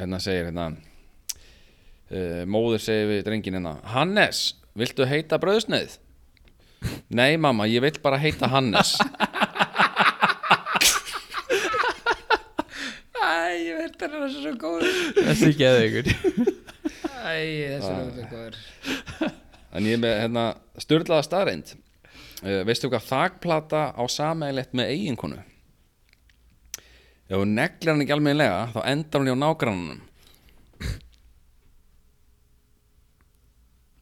Speaker 2: Hérna segir hérna uh, Móður segir við drengin hérna Hannes, viltu heita brauðsneið? Nei mamma, ég vil bara heita Hannes
Speaker 1: Æ, ég veit það er svo góður
Speaker 3: Þessi geði ykkur
Speaker 1: Æ, þessi er svo góður
Speaker 2: En ég er með hérna styrlaða staðreind uh, Veistu hvað þakplata á sameigilegt með eiginkonu? Ef hún neglir hann ekki almennilega þá endar hún hjá nágrannunum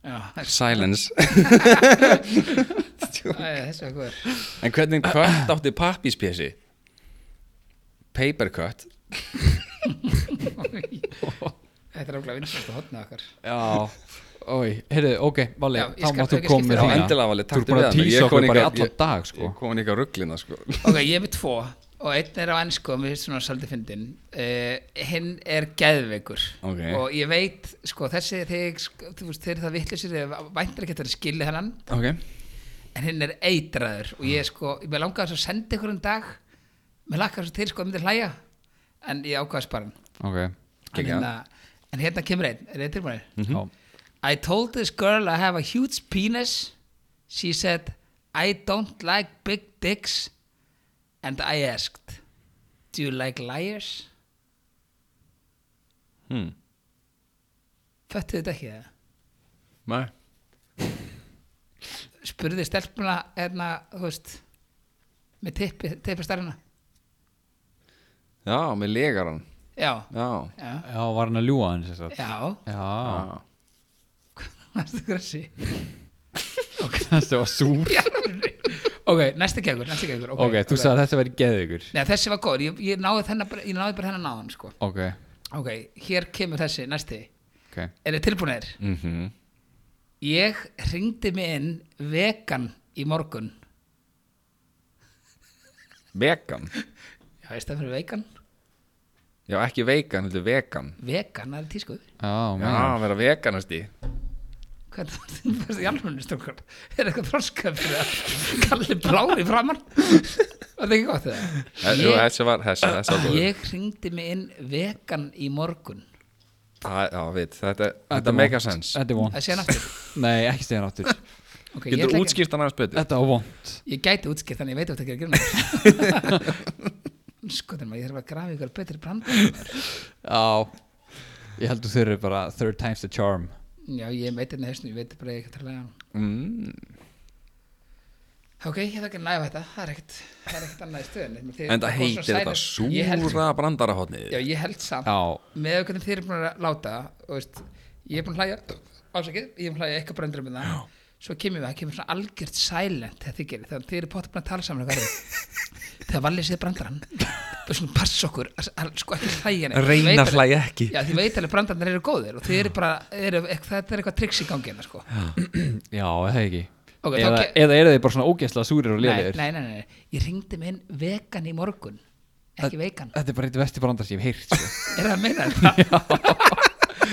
Speaker 1: Já,
Speaker 2: Silence
Speaker 1: Æ, þessi var góður
Speaker 2: En hvernig kött átti pappíspjessi? Paper cut
Speaker 1: Þetta er ákveðlega vinsast að hotna okkar
Speaker 3: Já Oi, heyrðu, ok, Valli,
Speaker 1: Já, ég
Speaker 3: þá
Speaker 1: skal-
Speaker 3: máttu
Speaker 1: ég skal
Speaker 3: koma með
Speaker 1: skipta
Speaker 2: Já,
Speaker 1: Fína.
Speaker 2: endilega valið
Speaker 3: Þú er búin að tísa okkur bara í allan dag, sko
Speaker 2: Ég komin ekki á rugglina sko
Speaker 1: Ok, ég er með tvo og einn er á ennsku og mér finnst svona svolítið fyndin uh, hinn er geðveikur
Speaker 2: Ok.
Speaker 1: og ég veit, sko, þessi þig, sko, þú veist, þeir eru það vitlisir væntar ekki að þetta skilja hennan
Speaker 2: Ok
Speaker 1: en hinn er eitraður og ég, sko, ég með langaði svo að senda ykkur um dag mér lakkaði svo til, sko, að myndi hlæja en ég ákvaði sparan
Speaker 3: Ok,
Speaker 1: en,
Speaker 2: Geggjað.
Speaker 1: hérna, en hérna kemur einn, er þetta tilbúinir?
Speaker 3: já
Speaker 1: I told this girl I have a huge penis. She said, I don't like big dicks. And I asked, Do you like liars?
Speaker 2: hmm.
Speaker 1: Föttu þetta ekki það?
Speaker 2: Nei
Speaker 1: Spurði stelpuna, hérna, þú veist, með tippi, tippi starfina.
Speaker 2: Já, með legaran
Speaker 1: Já,
Speaker 2: Já
Speaker 1: já,
Speaker 3: Já, var hann að ljúga hann sér satt
Speaker 1: já,
Speaker 3: Já,
Speaker 2: Já.
Speaker 1: næstu grassi.
Speaker 3: þetta var súr
Speaker 1: Ok, næstu kegur, næstu kegur.
Speaker 3: Ok, þú sagði að þetta væri geðið ykkur
Speaker 1: Nei, þessi var góð, ég, ég, náði, þennan, bara- ég náði bara hennan náðan, sko.
Speaker 3: Ok,
Speaker 1: Ok, hér kemur þessi, næsti.
Speaker 3: ok
Speaker 1: Er þið tilbúinir?
Speaker 2: Mm -hmm.
Speaker 1: Ég ringdi mig inn vegan í morgun.
Speaker 2: Vegan
Speaker 1: Já, ég stað fyrir vegan.
Speaker 2: Já, ekki vegan, heldur vegan
Speaker 1: Vegan, það er tískuð.
Speaker 3: Já,
Speaker 2: Já,
Speaker 3: meina
Speaker 2: vera veganasti
Speaker 1: Hvernig var þetta fyrst í alvörunni strókar? Er eitthvað þroskað fyrir að kalli blári framann? Var þetta ekki gott það?
Speaker 2: Jú, þessi var, þessi, þessi var góður.
Speaker 1: ég ringdi mig inn vegan í morgun.
Speaker 2: Það- Já, veit, þetta, þetta make a sense
Speaker 3: Þetta er vond
Speaker 1: Það sé hann aftur.
Speaker 3: Nei, ekki segja hann aftur
Speaker 1: Okay, ég,
Speaker 2: Getur
Speaker 1: ætla ekki,
Speaker 2: útskýrt hann aðeins betur
Speaker 3: Þetta var vond
Speaker 1: ég gæti útskipt þannig, ég veit að þetta ekki að gera. Skoðum að ég þarf að grafa ykkur betri brand.
Speaker 3: Já Ég heldur þau eru bara third time's the charm
Speaker 1: Já, ég veit þetta hefstum, ég veit bara að ég ekki að tala hann.
Speaker 2: mm,
Speaker 1: Ok, ég þarf ekki að næfa þetta, það er ekkert, það er ekkert annað í stöðinni. Þið-
Speaker 2: En það
Speaker 1: kom
Speaker 2: heitir
Speaker 1: svona
Speaker 2: þetta
Speaker 1: sælir- Ég held-
Speaker 2: súra brandarahotnið
Speaker 1: Já, ég held samt,
Speaker 3: Já,
Speaker 1: með auðvitað þeir eru búin að láta, og veist, ég er búin að hlæja, ásakið, ég er búin að hlæja eitthvað bröndur um það, svo kemur við, það kemur svona algjört silent þegar þið gerir, þegar þið eru potið búin að tala saman eitthvað, þegar vallið séð brandarann, og svona passa okkur, að- að- sko ekki hlæja neitt. Ég veit
Speaker 2: Reyna að
Speaker 1: alveg-
Speaker 2: hlæja ekki
Speaker 1: Já, því veit alveg brandarnir eru góðir og þið eru bara, eru, ekk- þetta er eitthvað triks í gangi hérna, sko.
Speaker 3: já, það ekki
Speaker 1: Ok, þá
Speaker 3: eða,
Speaker 1: ke-
Speaker 3: eða eru þið bara svona ógeðslega súrir og
Speaker 1: Nei,
Speaker 3: liðir
Speaker 1: nei, nei, nei, ég ringdi minn vegan í morgun, ekki vegan.
Speaker 3: Þetta er bara eitt vesti brandar sem ég hef heyrt sko.
Speaker 1: Er það að meina þetta?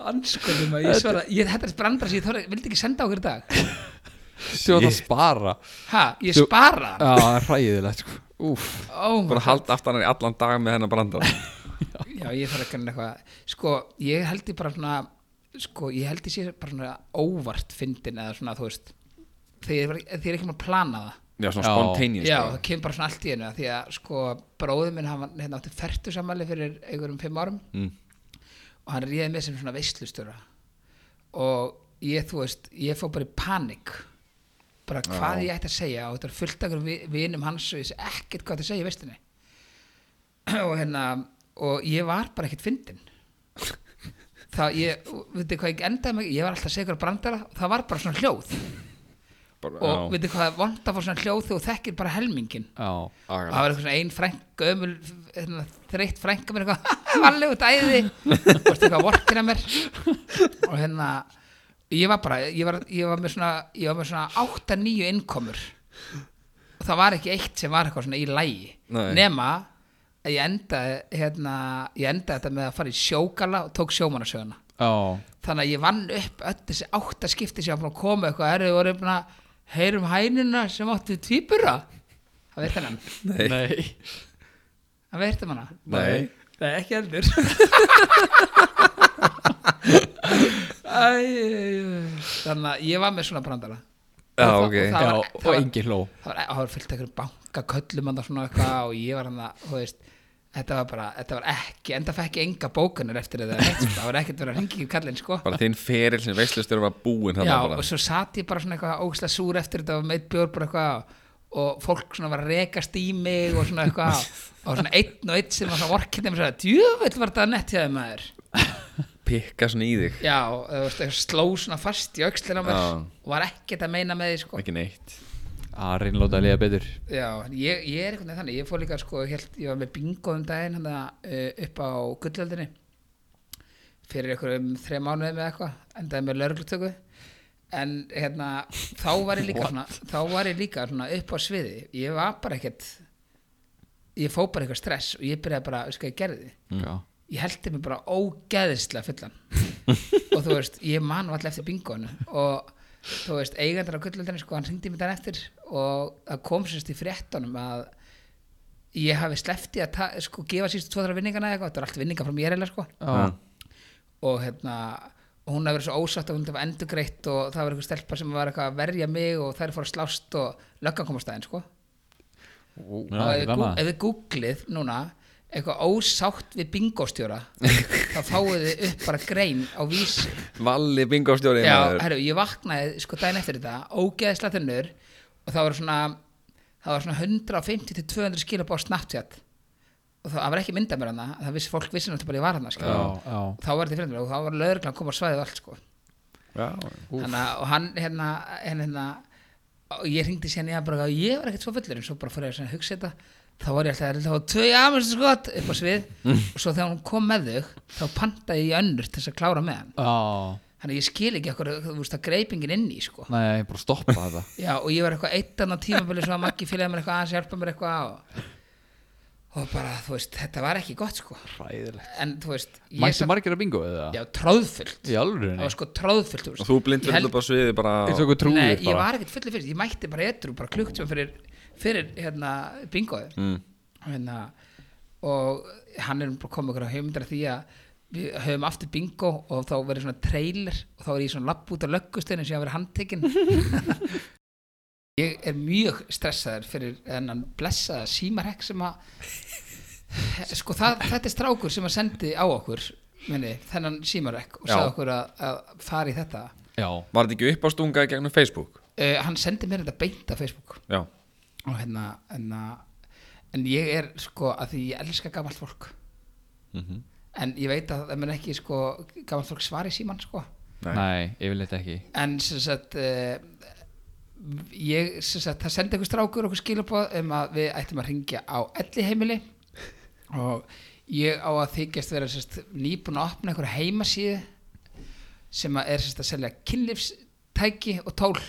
Speaker 1: Anskuðum að ég svara ég, Þetta er brandar sem ég þorði, vildi ekki senda okkur í dag
Speaker 3: Þú átt að spara
Speaker 1: Ha, ég
Speaker 3: Þú-
Speaker 1: spara hann
Speaker 3: Já, það er hræðilegt sko. Úf,
Speaker 1: oh my
Speaker 2: Bara halda aftan hann í allan dag með hennar brandara
Speaker 1: God. Já, ég þarf að kanna eitthvað Sko, ég held ég bara svona Sko, ég held ég sé bara svona óvart fyndin eða svona, þú veist þegar ég er ekki maður að plana það
Speaker 2: Já, svona
Speaker 3: Já.
Speaker 2: spontaneous
Speaker 1: Já,
Speaker 2: bara.
Speaker 1: það kemur bara svona allt í einu af Því að sko, bróðum minn hann var- hérna, átti fertu sammæli fyrir einhverjum fimm árum
Speaker 2: Mm.
Speaker 1: og hann réði með sem svona veistlustjóra og ég, þú veist, ég fór bara í panik bara hvað ég ætti að segja og þetta er fullt akkur vinum hans og ég sé ekkert hvað það segja í veistinni og hérna og ég var bara ekkert fyndin þá ég, veitir hvað ég endaði mig ég var alltaf að segja ykkur brandara og það var bara svona hljóð
Speaker 2: Bara-
Speaker 1: og
Speaker 2: já.
Speaker 1: veitir hvað það er vond að fá svona hljóð þegar þú þekkir bara helmingin
Speaker 3: já
Speaker 1: og
Speaker 2: Agalegt.
Speaker 1: það var eitthvað svona ein frænka ömul, hérna, þreytt frænka mér eitthvað valleg út æði og eitthvað vorkina mér og hérna ég var bara, ég var, ég var með svona ég var með svona 8-9 innkomur og það var ekki eitt sem var eitthvað svona í lægi,
Speaker 2: Nei.
Speaker 1: nema að ég endaði hérna, ég endaði þetta með að fara í sjókala og tók sjómanasöguna
Speaker 3: Já,
Speaker 1: þannig að ég vann upp öll þessi átta skipti sem ég var búin að koma eitthvað erðu voru búin að heyrum hænuna sem áttu tvíbura það veit hennan
Speaker 3: nei
Speaker 1: það veit hennan
Speaker 2: Nei,
Speaker 1: Nei, ekki heldur Æ, Þannig að ég var með svona brandara
Speaker 2: já,
Speaker 1: Og það-
Speaker 2: ok
Speaker 1: og það-
Speaker 3: Já,
Speaker 1: var-
Speaker 3: og
Speaker 1: var-
Speaker 3: engin hló
Speaker 1: Það var, það var fyllt einhverjum bankaköllum og svona eitthvað og ég var hann að, þú veist Þetta var bara, þetta var ekki, enda fekk ég enga bókunar eftir þetta, sko. það var ekkert verið að hringi í kallinn, sko.
Speaker 2: Bara þinn feril sem veislustur var búinn þarna
Speaker 1: Já,
Speaker 2: bara.
Speaker 1: og svo satt ég bara svona eitthvað ógislega súr eftir þetta og meitt bjór bara eitthvað og fólk svona var að rekast í mig og svona eitthvað og svona einn og einn sem var svona vorkinn þeim og svona, djöfull var þetta nett hjá þeim maður
Speaker 2: pikka svona í þig
Speaker 1: Já, þú veist, eitthvað sló svona fast í aukslina á mér
Speaker 2: Já.
Speaker 1: og var ekkert að meina með því sko.
Speaker 2: ekki neitt
Speaker 3: að reyna að láta að liða betur
Speaker 1: Já, en ég, ég er einhvern veginn þannig, ég fór líka sko, ég held, ég var með bingo um daginn hana, uh, upp á gullöldinni fyrir einhverjum þreja mánuði með eitthvað endaði með lögreglutöku en hérna, þá var ég líka svona, þá var ég líka svona upp á sviði ég var bara ekkert ég fó bara eitthvað stress og ég byrjaði bara, veist hvað ég gerði
Speaker 3: mm.
Speaker 1: ég heldi mig bara ógeðislega fullan og þú veist, ég man var alltaf eftir bingoinu og þú veist, eigandar á gullöldinni sko, hann hringdi mig þar eftir og það kom sérst í fréttunum að ég hafi slefti að ta- sko, gefa sístu tvo þar vinningana eða eitthvað, þetta var allt vinninga frá mér eða sko
Speaker 3: Mm.
Speaker 2: Já.
Speaker 1: og hérna og hún hafi verið svo ósátt að hún hafi endurgreitt og það var eitthvað stelpa sem var eitthvað að verja mig og þær fór að slást og löggan kom á staðinn sko
Speaker 3: Já,
Speaker 1: og ef
Speaker 3: ekkert
Speaker 1: þið gú-
Speaker 3: annað.
Speaker 1: ef þið googlið núna eitthvað ósátt við bingostjóra þá fáið þið upp bara grein á vísi
Speaker 2: Valli bingostjóri
Speaker 1: já,
Speaker 2: maður.
Speaker 1: herru, ég vaknaði sko daginn eftir þetta ógeðslega þunnur og það var svona það var svona 150 til 200 skilabá Snapchat og það það var ekki mynda mér hana það vissi fólk vissi náttúrulega bara ég var hana sko.
Speaker 3: já,
Speaker 1: þá var þetta fyrir mér og þá var lögreglan að koma á svæðið og allt sko.
Speaker 2: Já.
Speaker 1: Hanna, og hann hérna, hérna, hérna og ég hringdi sérna í hann bara og ég var ekkert svo fullur en svo bara fór ég að hugsa þetta þá var ég alltaf að það var tvö amestu skot upp á svið
Speaker 3: Mm.
Speaker 1: og svo þegar hún kom með þau þá pantaði ég önnur til þess að klára með hann
Speaker 3: já.
Speaker 1: þannig að ég skil ekki okkur þú veist að greipingin inn í sko
Speaker 3: Nei, ég er bara að stoppa þetta
Speaker 1: Já, og ég var eitthvað eitt annan tímabili svo að Maggi fylgjaði mér eitthvað aðeins hjálpa mér eitthvað og, og bara, þú veist, þetta var ekki gott sko
Speaker 3: Ræðilegt
Speaker 1: en þú veist, ég
Speaker 3: Mættu margir að bingo eða?
Speaker 1: já, tróðfullt
Speaker 3: Í alveg
Speaker 1: það var sko tróðfullt, þú
Speaker 2: og
Speaker 1: veist
Speaker 2: þú blind
Speaker 1: Ég held-
Speaker 2: fullur bara sviði bara
Speaker 3: Eins og okkur trúið
Speaker 1: Nei,
Speaker 3: bara
Speaker 1: ég var ekkert fullið fyrst, ég mætti bara etru bara klukkt sem fyrir, fyrir hérna, bingoði
Speaker 2: mm.
Speaker 1: hérna, og hann er bara komið okkur á heimundra því að við höfum aftur bingo og þá verið svona trailer og þá er ég svona lapp út á löggustöðinu sem ég hafa verið handtekinn ég er mjög stressaður fyrir þennan blessaða símarhekk sem að sko það, þetta er strákur sem að sendi á okkur minni, þennan símarhekk og
Speaker 2: Já.
Speaker 1: sagði okkur að, að fara í þetta
Speaker 3: Já,
Speaker 2: var þetta ekki upp á stunga í gegnum Facebook
Speaker 1: uh, hann sendi mér þetta beint á Facebook
Speaker 2: já,
Speaker 1: og hérna, hérna en ég er sko að því ég elska gamalt fólk
Speaker 3: Mhm.
Speaker 1: en ég veit að það mun ekki sko gamalt fólk svari síman sko
Speaker 2: Nei.
Speaker 3: nei, yfirleitt ekki
Speaker 1: en sem sagt uh, ég sem sagt það sendi einhver strákur okkur skilabóð um að við ættum að ringja á elli heimili og ég á að þykjast vera sem sagt, nýbúin að opna einhver heimasíðu sem að er sem sagt, að selja kynlifstæki og tól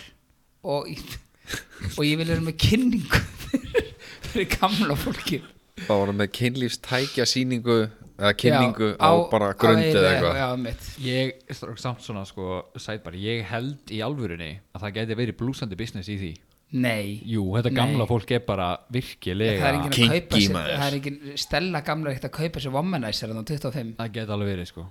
Speaker 1: og, ég- og ég vil vera með kynningu fyrir, fyrir gamla fólki
Speaker 2: þá varum við kynlífstækja síningu eða kynningu
Speaker 1: Já,
Speaker 2: á, bara grundu eða
Speaker 1: á-
Speaker 2: eitthvað
Speaker 1: já, mitt
Speaker 3: Ég, strók, samt svona sko, sæt bara Ég held í alvörunni að það geti verið blúsandi business í því
Speaker 1: nei
Speaker 3: Jú, þetta
Speaker 1: Nei.
Speaker 3: gamla fólk er bara
Speaker 1: það er
Speaker 3: virkilega
Speaker 1: enginn að
Speaker 2: Kinky
Speaker 1: kaupa sér
Speaker 2: maður.
Speaker 1: það er enginn stella gamla ekkert að kaupa sér womanizer en á 25
Speaker 3: Það geti alveg verið sko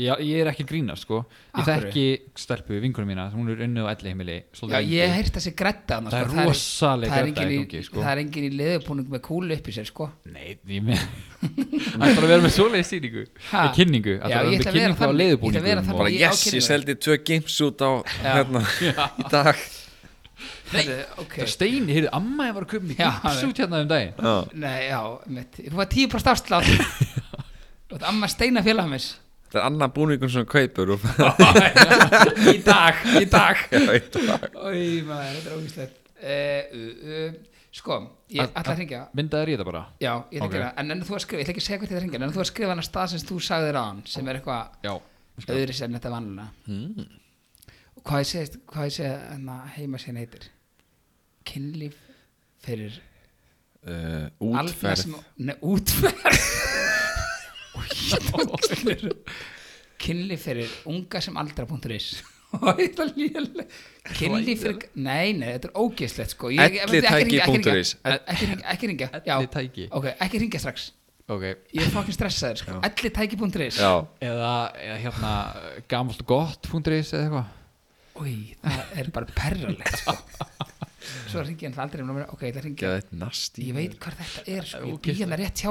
Speaker 3: Já, ég er ekki að grína sko Ég
Speaker 1: Af hverju?
Speaker 3: þekki stelpu vinkunum mína Hún er unnið á elli heimili
Speaker 1: já ég heirt þessi gretta annars,
Speaker 3: Það er
Speaker 1: sko.
Speaker 3: rosaleg
Speaker 1: það er
Speaker 3: gredda
Speaker 1: enginn
Speaker 3: í
Speaker 1: í,
Speaker 3: gangi, sko.
Speaker 1: það er enginn í leðupúning með kúlu upp í sér sko
Speaker 3: Nei, ég með Það er bara að vera með svoleiði sýningu
Speaker 1: Ha?
Speaker 3: Með kynningu
Speaker 1: Já,
Speaker 3: Það
Speaker 1: ég
Speaker 3: er með
Speaker 1: ætla að vera þannig, ég
Speaker 3: kynningu á
Speaker 1: ætla að vera
Speaker 3: leiðubúningum
Speaker 1: þannig.
Speaker 2: bara
Speaker 1: Ég- á
Speaker 2: yes, ég
Speaker 1: kynlífi.
Speaker 2: seldi tvö games út á hérna í dag
Speaker 1: Nei, ok
Speaker 3: Það steini, heyrðu, amma ég var að köpa mig
Speaker 1: Já,
Speaker 3: gips út hérna um daginn
Speaker 1: Nei, já, mitt Ég fór að 10% afslátt Og þetta amma steina félag mis
Speaker 2: það er annar búningun sem kaupur og
Speaker 1: Í dag, í dag
Speaker 2: Já, í dag.
Speaker 1: Í maður, þetta er ógíslegt uh, uh, uh, Sko, ég
Speaker 3: Að-
Speaker 1: ætla að hringja
Speaker 3: Myndaði ég það bara
Speaker 1: Já, ég ætla að
Speaker 3: Ok.
Speaker 1: gera En en þú að skrifa, ég ætla ekki að segja hvert þetta hringja En þú að skrifa hann að stað sem þú sagðir á hann Sem er eitthvað
Speaker 3: Já
Speaker 2: Sko.
Speaker 1: öðri sem þetta vanlega
Speaker 2: Hmm.
Speaker 1: Og hvað ég segist Hvað ég segja hann að heima sér heitir Kynlíf fyrir
Speaker 2: uh,
Speaker 1: alla
Speaker 2: útferð
Speaker 1: sem, Nei, útferð Kynlíf fyrir unga sem aldra.is Kynlíf fyrir Nei, nei, þetta er ógeðslegt sko Ég- ég- ekki hringja, ekki hringja,
Speaker 2: Ellitæki.is.
Speaker 1: Ekki ringja, ekki ringja
Speaker 3: Ellitæki.
Speaker 1: Ok, ekki ringja strax
Speaker 3: Ok
Speaker 1: Ég er fokkin stressaður sko Ellitæki.is
Speaker 2: já,
Speaker 3: Eða, eða hérna gamalt og gott.is eða eitthvað
Speaker 1: Új, það er bara perralegt sko Svo ringi hann aldrei um númer- Ok, ég ætla að ringja
Speaker 2: geða þetta nasti
Speaker 1: Ég veit hvað þetta er sko, ég býð hann rétt hjá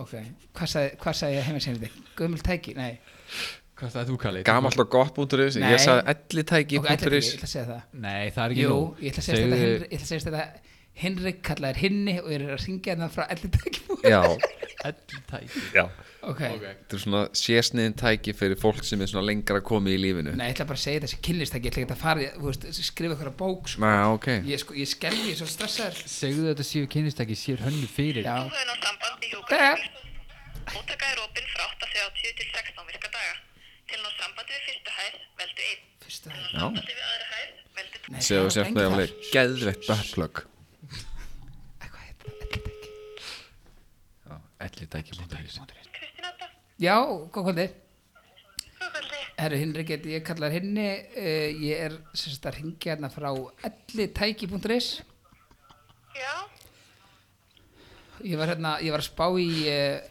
Speaker 1: Ok, hvað sagði, hvað sagði heimarsýnir þig? Gömul tæki? Nei
Speaker 3: Hvað það er þú kallið?
Speaker 2: gamalt og gott búntur
Speaker 1: Nei.
Speaker 2: ég sagði
Speaker 1: Ok, ætla ekki, ég
Speaker 2: ellitæki.is
Speaker 1: ætla að segja það
Speaker 3: Nei, það er ekki
Speaker 1: Jú,
Speaker 3: nóg.
Speaker 1: ég ætla að segja þetta
Speaker 3: Segðu-
Speaker 1: Henry- Ég ætla að segja þetta Hinrik kallaðir hinni og er að ringja hennar frá ellitækjum
Speaker 2: Já,
Speaker 3: Ellitæki
Speaker 2: já
Speaker 1: ok,
Speaker 2: Þetta er svona sérsniðin tæki fyrir fólk sem er svona lengra komið í lífinu
Speaker 1: nei, ég ætla bara að segja þessi kynnistæki ég ætla ekki að fara, í- þú veist, skrifa eitthvað bók sko.
Speaker 2: Næ, ok
Speaker 1: ég, sko, ég skelfi, ég er svo stressaður
Speaker 3: Segðu þetta séu kynistæki sér hönnu fyrir
Speaker 1: já,
Speaker 5: Þú hefur nátt samband í
Speaker 1: Jæja.
Speaker 5: Móttaka er opinn frá 8.30 til 16 virka daga. Til ná sambandi við fyrstu hæð, veldu 1.
Speaker 1: fyrstu
Speaker 5: Til ná
Speaker 2: Já.
Speaker 5: sambandi við aðra hæð, veldu 2.
Speaker 1: Nei,
Speaker 2: Segðu
Speaker 1: það
Speaker 2: um
Speaker 1: var
Speaker 2: sér
Speaker 1: engin
Speaker 2: þetta
Speaker 1: þar.
Speaker 2: alveg geðveitt backlog
Speaker 1: Eitthvað heit- ellitæki.
Speaker 2: Elli tæki búin
Speaker 5: Kristín Adda,
Speaker 1: já, góð kvöldi
Speaker 5: hvað veldi?
Speaker 1: Herru Hinrik, heiti ég kallar henni uh, ég er sérst að ringja hérna frá ellitæki.is
Speaker 5: Já,
Speaker 1: ég var hérna, ég var að spá í uh,